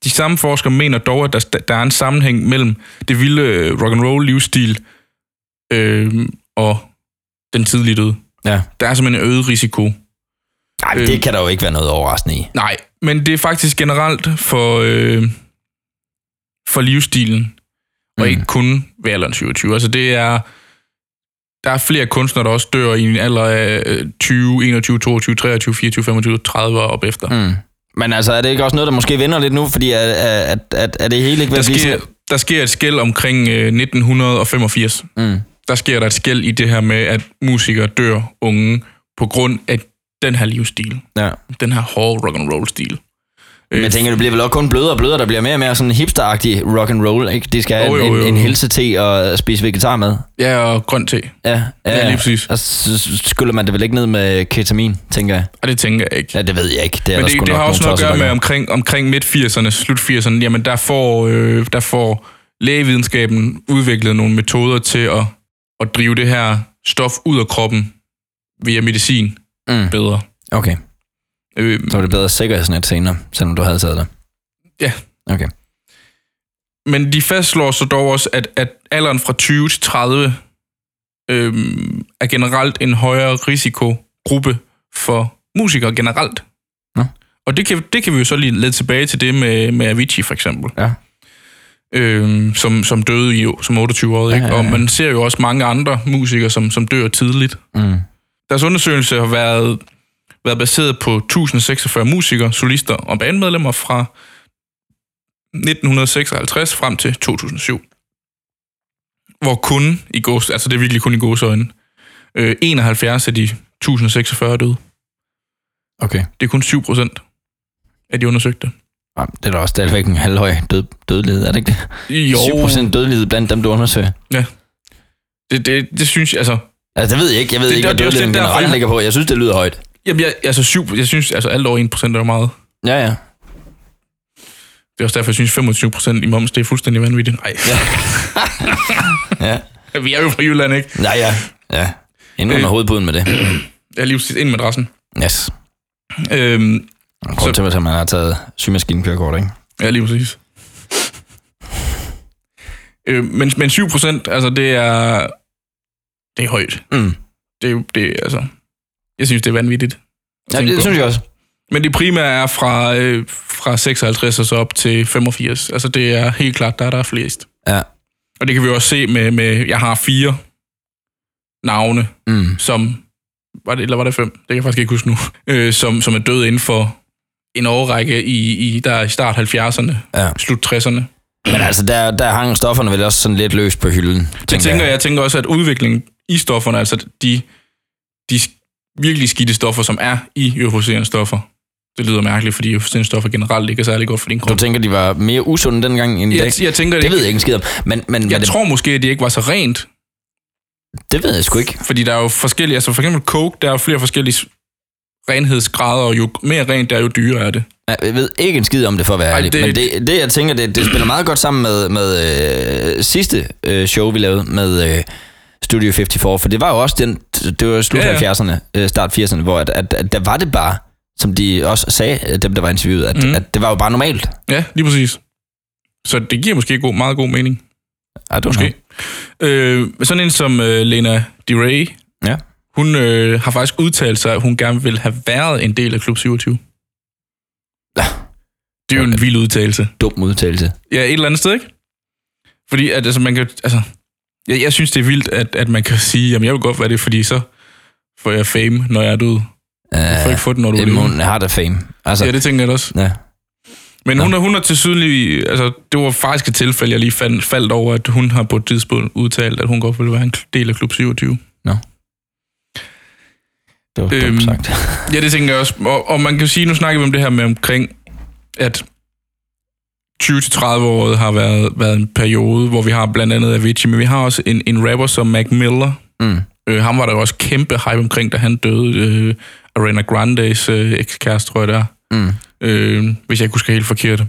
S2: de samme forskere mener dog, at der, der er en sammenhæng mellem det vilde øh, rock'n'roll livsstil øh, og den tidlige død.
S3: Ja.
S2: Der er simpelthen en øget risiko
S3: Nej,
S2: Øh.
S3: øh. det kan der jo ikke være noget overraskende i.
S2: Nej, men det er faktisk generelt for, øh, for livsstilen, og
S3: Mm.
S2: ikke kun ved alderen 27. Altså det er, der er flere kunstnere, der også dør i en alder af øh, 20, 21, 22, 23, 24, 25, 30 og op efter. Mm.
S3: Mm. Men altså, er det ikke også noget, der måske vender lidt nu, fordi at, at, at, at det hele ikke
S2: Der,
S3: vil blive
S2: sker,
S3: sådan-
S2: der sker et skæld omkring øh, 1985.
S3: Mm.
S2: Der sker der et skæld i det her med, at musikere dør unge på grund af den her livsstil.
S3: Ja. Øh.
S2: Den her hårde rock'n'roll-stil.
S3: Men
S2: Øh,
S3: jeg tænker, det bliver vel også kun blødere og blødere, der bliver mere og mere sådan hipsteragtig rock and roll, ikke? De skal have
S2: Jo,
S3: oh,
S2: jo,
S3: jo, jo.
S2: jo.
S3: en, en helsete og spise vegetar med.
S2: Ja, og grøn te.
S3: Ja, ja,
S2: Ja, lige præcis.
S3: Og så så skyller man det vel ikke ned med ketamin, tænker jeg.
S2: Og det tænker jeg ikke.
S3: Ja, det ved jeg ikke. Det er
S2: Men
S3: der sgu
S2: det, det
S3: nok
S2: har
S3: nogle
S2: også noget at
S3: tosser,
S2: gøre
S3: der
S2: med
S3: gør.
S2: omkring, omkring midt-80'erne, slut-80'erne, jamen der får, øh, der får lægevidenskaben udviklet nogle metoder til at, at drive det her stof ud af kroppen via medicin
S3: Mm.
S2: bedre.
S3: Okay.
S2: Øh,
S3: Så var det bedre sikkerhedsnet senere, selvom du havde taget det.
S2: ja.
S3: Okay.
S2: Men de fastslår så dog også, at, at alderen fra 20 til 30 øh, er generelt en højere risikogruppe for musikere generelt.
S3: Nå.
S2: Og det kan, det kan vi jo så lige lidt tilbage til det med, med Avicii for eksempel.
S3: Ja.
S2: øh, som, som døde i, som 28-årig. Ja, ja, ja. Og man ser jo også mange andre musikere, som, som dør tidligt.
S3: Mm.
S2: Deres undersøgelse har været, været baseret på 1046 musikere, solister og bandmedlemmer fra 1956 frem til 2007. Hvor kun i gås, altså det er virkelig kun i gåsøjne, øh, 71 af de 1046 er døde.
S3: Okay.
S2: Det er kun 7 procent af de undersøgte.
S3: Jamen, Det er da også stadigvæk en halvhøj død, dødelighed, er det ikke det?
S2: Jo,
S3: 7% dødelighed blandt dem, du undersøger.
S2: det, det, det synes jeg, altså
S3: Altså, det ved jeg ikke. Jeg ved
S2: Det-
S3: det, ikke,
S2: det-
S3: hvad
S2: det er også
S3: dødeligheden
S2: lidt derfor,
S3: generelt
S2: jeg-
S3: ligger på. Jeg synes, det lyder højt.
S2: Jamen, jeg, altså syv, jeg synes, altså alt over 1% er jo meget.
S3: Ja, ja.
S2: Det er også derfor, jeg synes, 25% i moms, det er fuldstændig vanvittigt. Nej,
S3: ja.
S2: ja. vi er jo fra Jylland, ikke?
S3: Nej, ja. Ja. Inden under
S2: Øh.
S3: hovedpuden med det.
S2: Jeg er lige præcis ind med adressen.
S3: Yes.
S2: Øhm,
S3: Grunden
S2: Så-
S3: til, at man har taget symaskinkørekort, ikke?
S2: ja, lige præcis. Øh, men, men 7%, altså det er, det er højt.
S3: Mm.
S2: Det er jo, det er, altså, jeg synes, det er vanvittigt. at
S3: Ja,
S2: tænke
S3: det
S2: på.
S3: synes jeg også.
S2: Men det primære er fra, øh, fra 56 og så op til 85. Altså det er helt klart, der er der er flest.
S3: Ja.
S2: Og det kan vi også se med, med jeg har fire navne,
S3: Mm.
S2: som, var det, eller var det fem? Det kan jeg faktisk ikke huske nu, øh, som, som er døde inden for en årrække i, i, der er i start 70'erne,
S3: Ja.
S2: slut 60'erne.
S3: Men altså, der, der hang stofferne vel også sådan lidt løst på hylden.
S2: Det tænker jeg. jeg tænker også, at udviklingen i stofferne, altså de, de virkelig skidte stoffer, som er i euforiserende stoffer, det lyder mærkeligt, fordi euforiserende stoffer generelt ikke er særlig godt for din krop.
S3: Du tænker, de var mere usunde dengang end i dag?
S2: Jeg, jeg tænker det,
S3: Det
S2: ikke.
S3: ved jeg ikke en skid om. Men, men men
S2: Jeg
S3: det,
S2: tror måske, at det ikke var så rent,
S3: det ved jeg sgu ikke.
S2: fordi der er jo forskellige, altså for eksempel coke, der er jo flere forskellige s- renhedsgrader, og jo mere rent, der er jo dyrere er det.
S3: Jeg ved ikke en skid om det, for at være
S2: Ej,
S3: ærlig.
S2: det-
S3: Men det, det, jeg tænker, det, det spiller meget godt sammen med, med øh, sidste øh, show, vi lavede med øh, Studio 54. For det var jo også den, det var slut
S2: Ja, ja.
S3: ja, ja. 70'erne, øh, start 80'erne, hvor at, at, at der var det bare, som de også sagde, øh, dem der var interviewet, at,
S2: Mhm.
S3: mm. at det var jo bare normalt.
S2: Ja, lige præcis. Så det giver måske god, meget god mening.
S3: Ej, du
S2: Måske. Øh, sådan en som øh, Lena DeRay,
S3: Ja.
S2: hun øh, har faktisk udtalt sig, at hun gerne vil have været en del af Klub 27.
S3: Ja.
S2: Det er jo en vild udtalelse.
S3: Dum udtalelse.
S2: Ja, et eller andet sted, ikke? Fordi at, altså, man kan, altså, jeg, jeg synes, det er vildt, at, at man kan sige, jamen jeg vil godt være det, fordi så får jeg fame, når jeg er død. Du får
S3: Uh,
S2: ikke få den, når du er
S3: det,
S2: levende.
S3: hun har da fame. Altså,
S2: Ja, det tænker jeg da også.
S3: ja.
S2: Men hun, er, hun er til sydlig, altså det var faktisk et tilfælde, jeg lige fandt, faldt over, at hun har på et tidspunkt udtalt, at hun godt ville være en del af Klub 27.
S3: Det var
S2: Øhm,
S3: dumt sagt.
S2: Ja, det tænker jeg også. Og, og man kan jo sige, nu snakker vi om det her med omkring, at 20-30-året har været, været en periode, hvor vi har blandt andet Avicii, men vi har også en, en rapper som Mac Miller.
S3: Mm.
S2: Øh, ham var der jo også kæmpe hype omkring, da han døde. Øh, Arena Grandes øh, ekskæreste, tror jeg der.
S3: Mm.
S2: Øh, hvis jeg ikke husker helt forkert.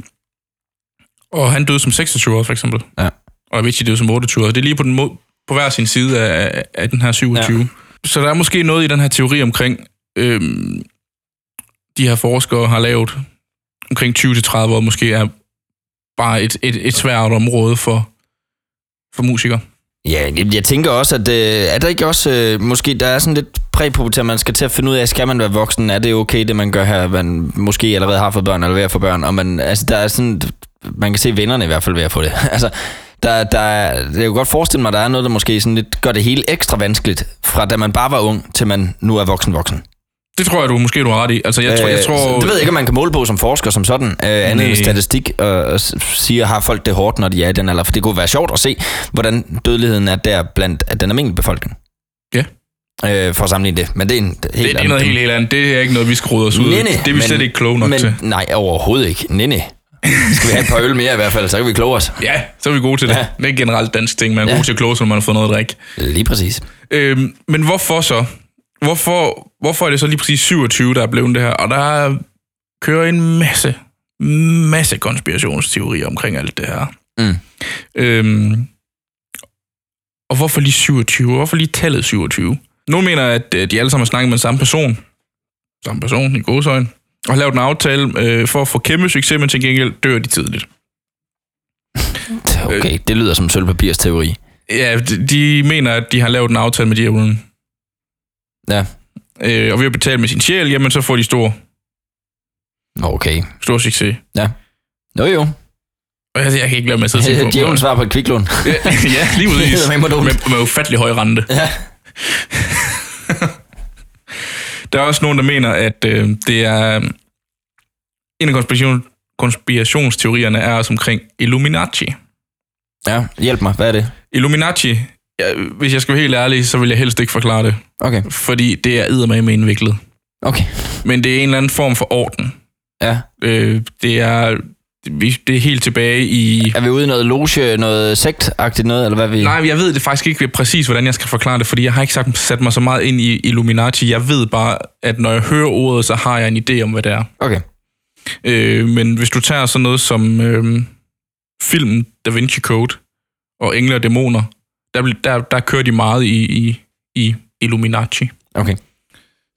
S2: Og han døde som 26 år, for eksempel.
S3: Ja.
S2: Og Avicii døde som 28 år. Det er lige på, den må- på hver sin side af, af den her 27. Ja. Så der er måske noget i den her teori omkring, øh, de her forskere har lavet omkring 20-30 år, måske er bare et, et, et svært område for, for musikere.
S3: Ja, jeg- jeg tænker også, at øh, er der ikke også, øh, måske der er sådan lidt præpubertær, man skal til at finde ud af, skal man være voksen, er det okay, det man gør her, man måske allerede har fået børn, eller ved at få børn, og man, altså, der er sådan, man kan se vennerne i hvert fald ved at få det. (laughs) altså, der, der, er- jeg kan godt forestille mig, at der er noget, der måske sådan lidt gør det hele ekstra vanskeligt, fra da man bare var ung, til man nu er voksen-voksen.
S2: Det tror jeg, du måske du har ret i. Altså, jeg, tror, jeg tror,
S3: det Øh, ved jeg ikke, om man kan måle på som forsker som sådan, øh, andet
S2: Nej.
S3: end statistik, og, og s- siger, har folk det hårdt, når de er i den alder? For det kunne være sjovt at se, hvordan dødeligheden er der blandt at den almindelige befolkning.
S2: Ja.
S3: Øh, for at sammenligne det. Men det er en helt
S2: det, det er noget helt, helt andet. Det er ikke noget, vi skal rode os ud i.
S3: Nene,
S2: Det er vi slet ikke kloge nok
S3: men,
S2: til.
S3: Nej, overhovedet ikke. Nene. Skal vi have et par øl mere i hvert fald, så kan vi kloge os.
S2: Ja, så er vi gode til det.
S3: Ja.
S2: Det er ikke generelt dansk ting. Man er
S3: Ja.
S2: god til at kloge, sig, når man har fået noget at drikke.
S3: Lige præcis.
S2: Øhm, men hvorfor så? Hvorfor, hvorfor er det så lige præcis 27, der er blevet det her? Og der kører en masse, masse konspirationsteorier omkring alt det her.
S3: Mm.
S2: Øhm, og hvorfor lige 27? Hvorfor lige tallet 27? Nogle mener, at øh, de alle sammen har snakket med den samme person. Samme person i godsøjen. og lavet en aftale øh, for at få kæmpe succes, men til gengæld dør de tidligt. Øh.
S3: Okay, det lyder som sølvpapirsteori.
S2: Ja, de, de mener, at de har lavet en aftale med djævlen.
S3: Ja,
S2: Øh, og ved at betale med sin sjæl, jamen så får de stor,
S3: okay.
S2: stor succes.
S3: Ja. Jo jo.
S2: Og jeg, jeg kan ikke lade med at sidde og
S3: (laughs)
S2: tænke på.
S3: Djævlen svarer på et kviklån.
S2: (laughs) ja, lige præcis.
S3: (laughs) Det er
S2: med,
S3: med dårligt.
S2: med ufattelig høj rente.
S3: Ja.
S2: (laughs) Der er også nogen, der mener, at øh, det er... En af konspiration, konspirationsteorierne er også omkring Illuminati.
S3: ja, hjælp mig. Hvad er det?
S2: Illuminati, ja, hvis jeg skal være helt ærlig, så vil jeg helst ikke forklare det,
S3: Okay,
S2: fordi det er eddermame indviklet.
S3: okay.
S2: Men det er en eller anden form for orden.
S3: Ja.
S2: Øh, det er vi- det er helt tilbage i...
S3: Er vi ude i noget loge, noget sektagtigt noget, eller hvad er vi...
S2: Nej, jeg ved det faktisk ikke præcis, hvordan jeg skal forklare det, fordi jeg har ikke sagt, sat mig så meget ind i Illuminati. Jeg ved bare, at når jeg hører ordet, så har jeg en idé om, hvad det er.
S3: Okay.
S2: Øh, men hvis du tager sådan noget som øh, filmen Da Vinci Code og Engle og Dæmoner, der, bl- der, der kører de meget i, i, i Illuminati.
S3: Okay.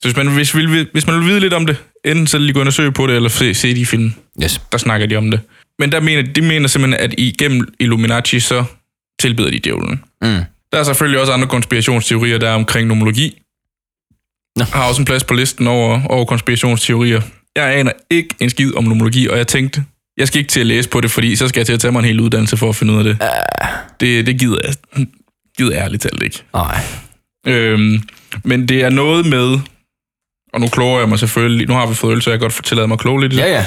S2: Så hvis man, hvis, vil, hvis man vil vide lidt om det, enten så lige gå ind og søge på det, eller se, se de film,
S3: Yes.
S2: der snakker de om det. Men der mener, de mener simpelthen, at igennem Illuminati, så tilbyder de djævlen.
S3: Mm.
S2: Der er selvfølgelig også andre konspirationsteorier, der er omkring nomologi.
S3: Nå.
S2: Jeg har også en plads på listen over, over konspirationsteorier. Jeg aner ikke en skid om nomologi, og jeg tænkte, jeg skal ikke til at læse på det, fordi så skal jeg til at tage mig en hel uddannelse for at finde ud af det. Uh.
S3: Ah.
S2: Det, det gider jeg, gider jeg ærligt talt ikke.
S3: Nej.
S2: Øhm, men det er noget med, og nu kloger jeg mig selvfølgelig, nu har vi fået øl, så jeg kan godt fortælle mig at kloge lidt. i det.
S3: Ja, ja.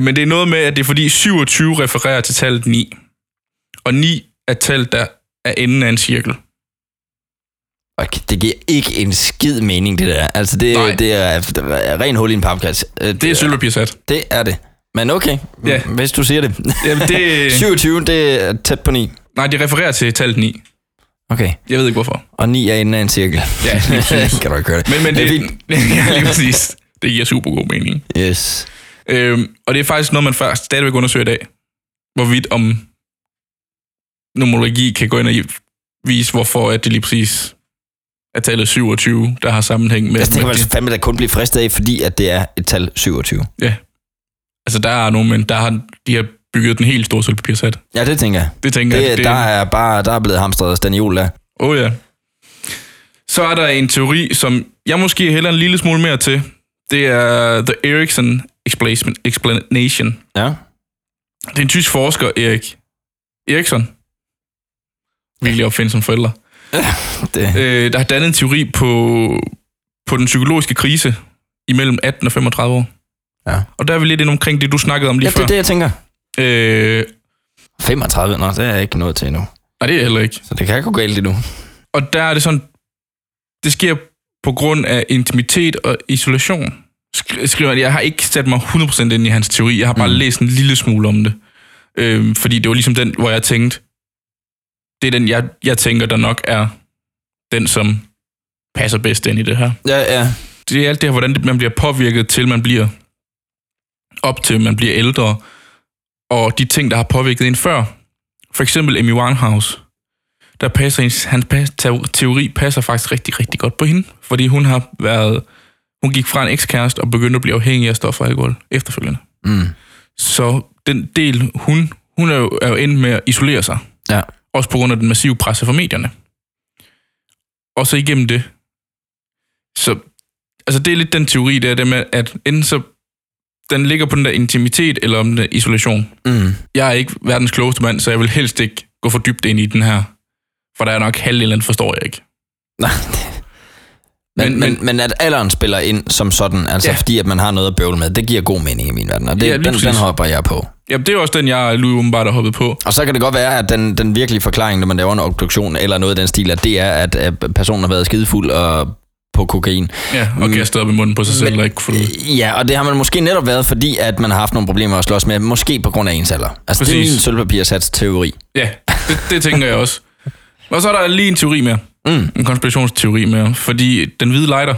S2: Men det er noget med, at det er fordi 27 refererer til tallet 9. Og 9 er tallet, der er enden af en cirkel.
S3: Okay, det giver ikke en skid mening, det der. Altså, det,
S2: Nej.
S3: det, er, det er ren hul i en papkasse. Øh,
S2: Det er sølvpapirsat.
S3: Det er det. Men okay,
S2: Ja.
S3: ja. hvis du siger det.
S2: Jamen, det-
S3: (laughs) 27, det er tæt på 9.
S2: Nej, de refererer til tallet 9.
S3: Okay.
S2: Jeg ved ikke hvorfor.
S3: Og 9 er inde af en cirkel.
S2: Ja, lige præcis.
S3: kan du ikke gøre (laughs) det.
S2: Men, men det,
S3: er fint.
S2: (laughs) ja, lige præcis. Det giver super god mening.
S3: Yes.
S2: Øhm, og det er faktisk noget, man først stadigvæk undersøger i dag. Hvorvidt om nomologi kan gå ind og i- vise, hvorfor at det lige præcis er tallet 27, der har sammenhæng med...
S3: Altså, det kan man
S2: med-
S3: altså fandme da kun blive fristet af, fordi at det er et tal 27.
S2: Ja. Altså, der er nogle mænd, der har, de har bygget den helt store sølvpapirsat.
S3: Ja, det tænker jeg.
S2: Det tænker jeg.
S3: Det, der er bare der er blevet hamstret staniol der.
S2: Åh oh, ja. Så er der en teori, som jeg måske hælder en lille smule mere til. Det er The Erikson Explanation- Explanation.
S3: Ja.
S2: Det er en tysk forsker, Erik Eriksson. Virkelig opfindt som forælder.
S3: Det,
S2: Øh, der har dannet en teori på, på den psykologiske krise imellem 18 og 35 år.
S3: Ja.
S2: Og der er vi lidt ind omkring det, du snakkede om
S3: ja,
S2: lige
S3: det er det, jeg tænker.
S2: før. Øh,
S3: 35, nå, det er jeg ikke nået til endnu.
S2: nej, det er jeg heller ikke.
S3: Så det kan gå galt endnu.
S2: Og der er det sådan, det sker på grund af intimitet og isolation. Sk- Skriver han, jeg har ikke sat mig 100% ind i hans teori, jeg har bare mm. læst en lille smule om det. Øhm, fordi det var ligesom den, hvor jeg tænkte, det er den, jeg, jeg tænker, der nok er den, som passer bedst ind i det her.
S3: Ja, ja.
S2: Det er alt det her, hvordan det- man bliver påvirket til, man bliver op til, man bliver ældre, og de ting, der har påvirket en før. For eksempel Amy Winehouse. Der passer ens, hans pas, teo- teori passer faktisk rigtig, rigtig godt på hende, fordi hun har været, hun gik fra en ekskæreste og begyndte at blive afhængig af stoffer og alkohol efterfølgende.
S3: Mm.
S2: Så den del, hun, hun er jo, er jo endt med at isolere sig,
S3: Ja.
S2: også på grund af den massive presse fra medierne. Og så igennem det. Så altså det er lidt den teori, der er det med, at enten så den ligger på den der intimitet, eller om den der isolation.
S3: Mm.
S2: Jeg er ikke verdens klogeste mand, så jeg vil helst ikke gå for dybt ind i den her. For der er nok halvdelen, forstår jeg ikke.
S3: Nej. Men,
S2: Men-
S3: men, men at alderen spiller ind som sådan, altså ja.
S2: Ja.
S3: fordi at man har noget at bøvle med, det giver god mening i min verden, og det, ja,
S2: Ja, lige
S3: den, den
S2: præcis.
S3: hopper jeg på.
S2: Jamen, det er også den, jeg lige åbenbart har hoppet på.
S3: Og så kan det godt være, at den, den virkelige forklaring, når man laver en obduktion eller noget af den stil, at det er, at, at personen har været skidefuld og på kokain.
S2: Ja,
S3: Mm.
S2: og gastet op i munden på sig selv, og ikke kunne få det ud.
S3: Ja, og det har man måske netop været, fordi at man har haft nogle problemer at slås med, måske på grund af ens alder. Altså, Præcis. det er
S2: Præcis.
S3: min sølvpapirsats-teori. (laughs)
S2: Ja, det, det tænker jeg også. Og så er der lige en teori mere.
S3: Mm.
S2: En konspirationsteori mere. Fordi den hvide lighter,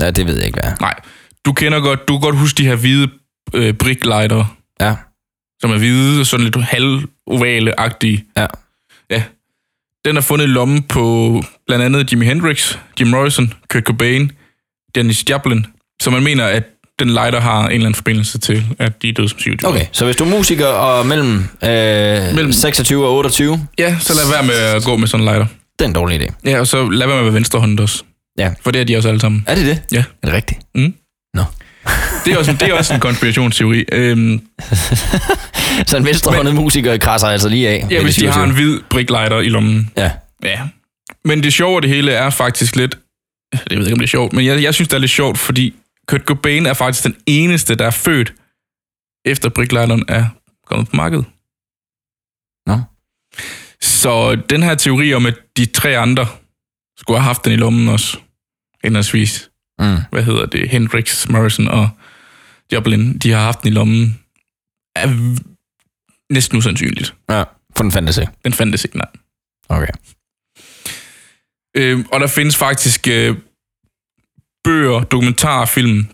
S3: Ja, det ved jeg ikke, hvad er.
S2: Nej. Du kender godt, du kan godt huske de her hvide øh, bricklighter,
S3: Ja,
S2: som er hvide og sådan lidt halvovale-agtige.
S3: ja.
S2: Ja. Den er fundet i lommen på blandt andet Jimi Hendrix, Jim Morrison, Kurt Cobain, Dennis Joplin, Så man mener, at den lighter har en eller anden forbindelse til, at de er døde som 27.
S3: Okay, så hvis du er musiker og mellem, øh, mellem
S2: Mellem-
S3: 26 og 28,
S2: Ja, så lad være med at gå med sådan en lighter.
S3: det er en dårlig idé.
S2: Ja, og så lad være med at være venstrehåndet også.
S3: Ja.
S2: For det er de også alle sammen.
S3: Er det det?
S2: Ja.
S3: Er det rigtigt?
S2: Mm.
S3: Nå.
S2: Det er også, det er også en konspirationsteori. Øhm,
S3: Så en venstrehåndet musiker krasser altså lige af.
S2: ja,
S3: ved
S2: hvis
S3: de
S2: de har
S3: 27.
S2: en hvid briklighter i lommen.
S3: Ja.
S2: Ja. Men det sjove af det hele er faktisk lidt... Jeg ved ikke, om det er sjovt, men jeg, jeg synes, det er lidt sjovt, fordi Kurt Cobain er faktisk den eneste, der er født, efter briklighteren er kommet på markedet.
S3: Nå.
S2: Så den her teori om, at de tre andre skulle have haft den i lommen også, henholdsvis
S3: Mm.
S2: hvad hedder det, Hendrix, Morrison og Joplin, de har haft den i lommen, er v- næsten usandsynligt.
S3: Ja, for den fandtes ikke.
S2: Den fandtes ikke, nej.
S3: Okay.
S2: Øh, og der findes faktisk øh, bøger, dokumentarfilm,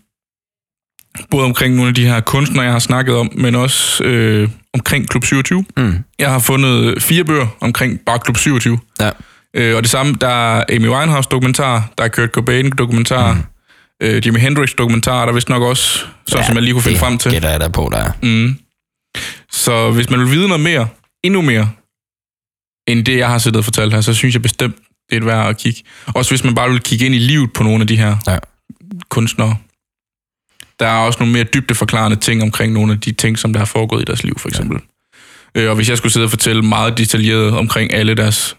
S2: både omkring nogle af de her kunstnere, jeg har snakket om, men også øh, omkring Klub 27.
S3: Mm.
S2: Jeg har fundet fire bøger omkring bare Klub 27.
S3: Ja.
S2: Øh, og det samme, der er Amy Winehouse-dokumentar, der er Kurt Cobain-dokumentar, mm. øh, Jimi Hendrix-dokumentar, der er vist nok også, sådan ja, som jeg lige kunne finde
S3: det
S2: frem til.
S3: gætter jeg da på, der er.
S2: Mm. Så hvis man vil vide noget mere, endnu mere, end det, jeg har siddet og fortalt her, så synes jeg bestemt, det er et værd at kigge. Også hvis man bare vil kigge ind i livet på nogle af de her
S3: Ja.
S2: kunstnere. Der er også nogle mere dybdeforklarende ting omkring nogle af de ting, som der har foregået i deres liv, for eksempel. Ja. Øh, og hvis jeg skulle sidde og fortælle meget detaljeret omkring alle deres,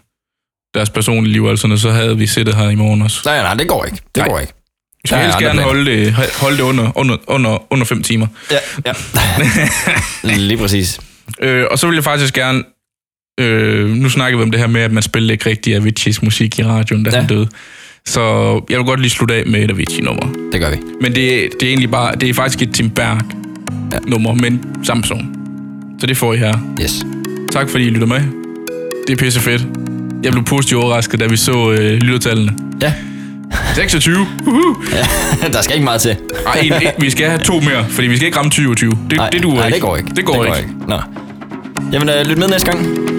S2: deres personlige liv, altså, så havde vi siddet her i morgen også.
S3: Nej, nej, det går ikke. Det
S2: Nej.
S3: går ikke.
S2: Vi
S3: Der
S2: skulle
S3: er
S2: helst
S3: andre
S2: gerne
S3: planer.
S2: holde det, holde det under, under, under, under fem timer.
S3: Ja, ja. (laughs) lige præcis.
S2: Øh, og så vil jeg faktisk gerne... Øh, nu snakker vi om det her med, at man spiller ikke rigtig Avicii's musik i radioen, da
S3: Ja.
S2: ja. han døde. Så jeg vil godt lige slutte af med et Avicii-nummer.
S3: Det gør vi.
S2: Men det, det er egentlig bare... Det er faktisk et Tim Berg-nummer, men Samsung. Så det får I her.
S3: Yes. (laughs)
S2: Tak fordi I lytter med. Det er pisse fedt. Jeg blev positivt overrasket, da vi så øh, lyttertallene.
S3: Ja.
S2: 26. Uh-huh.
S3: der skal ikke meget til.
S2: Ej, en, en, vi skal have to mere, fordi vi skal ikke ramme 20 og 20. Det,
S3: Nej,
S2: det duer
S3: nej,
S2: ikke.
S3: det går ikke.
S2: Det går, det går ikke.
S3: Nå. Jamen, øh, lyt med næste gang.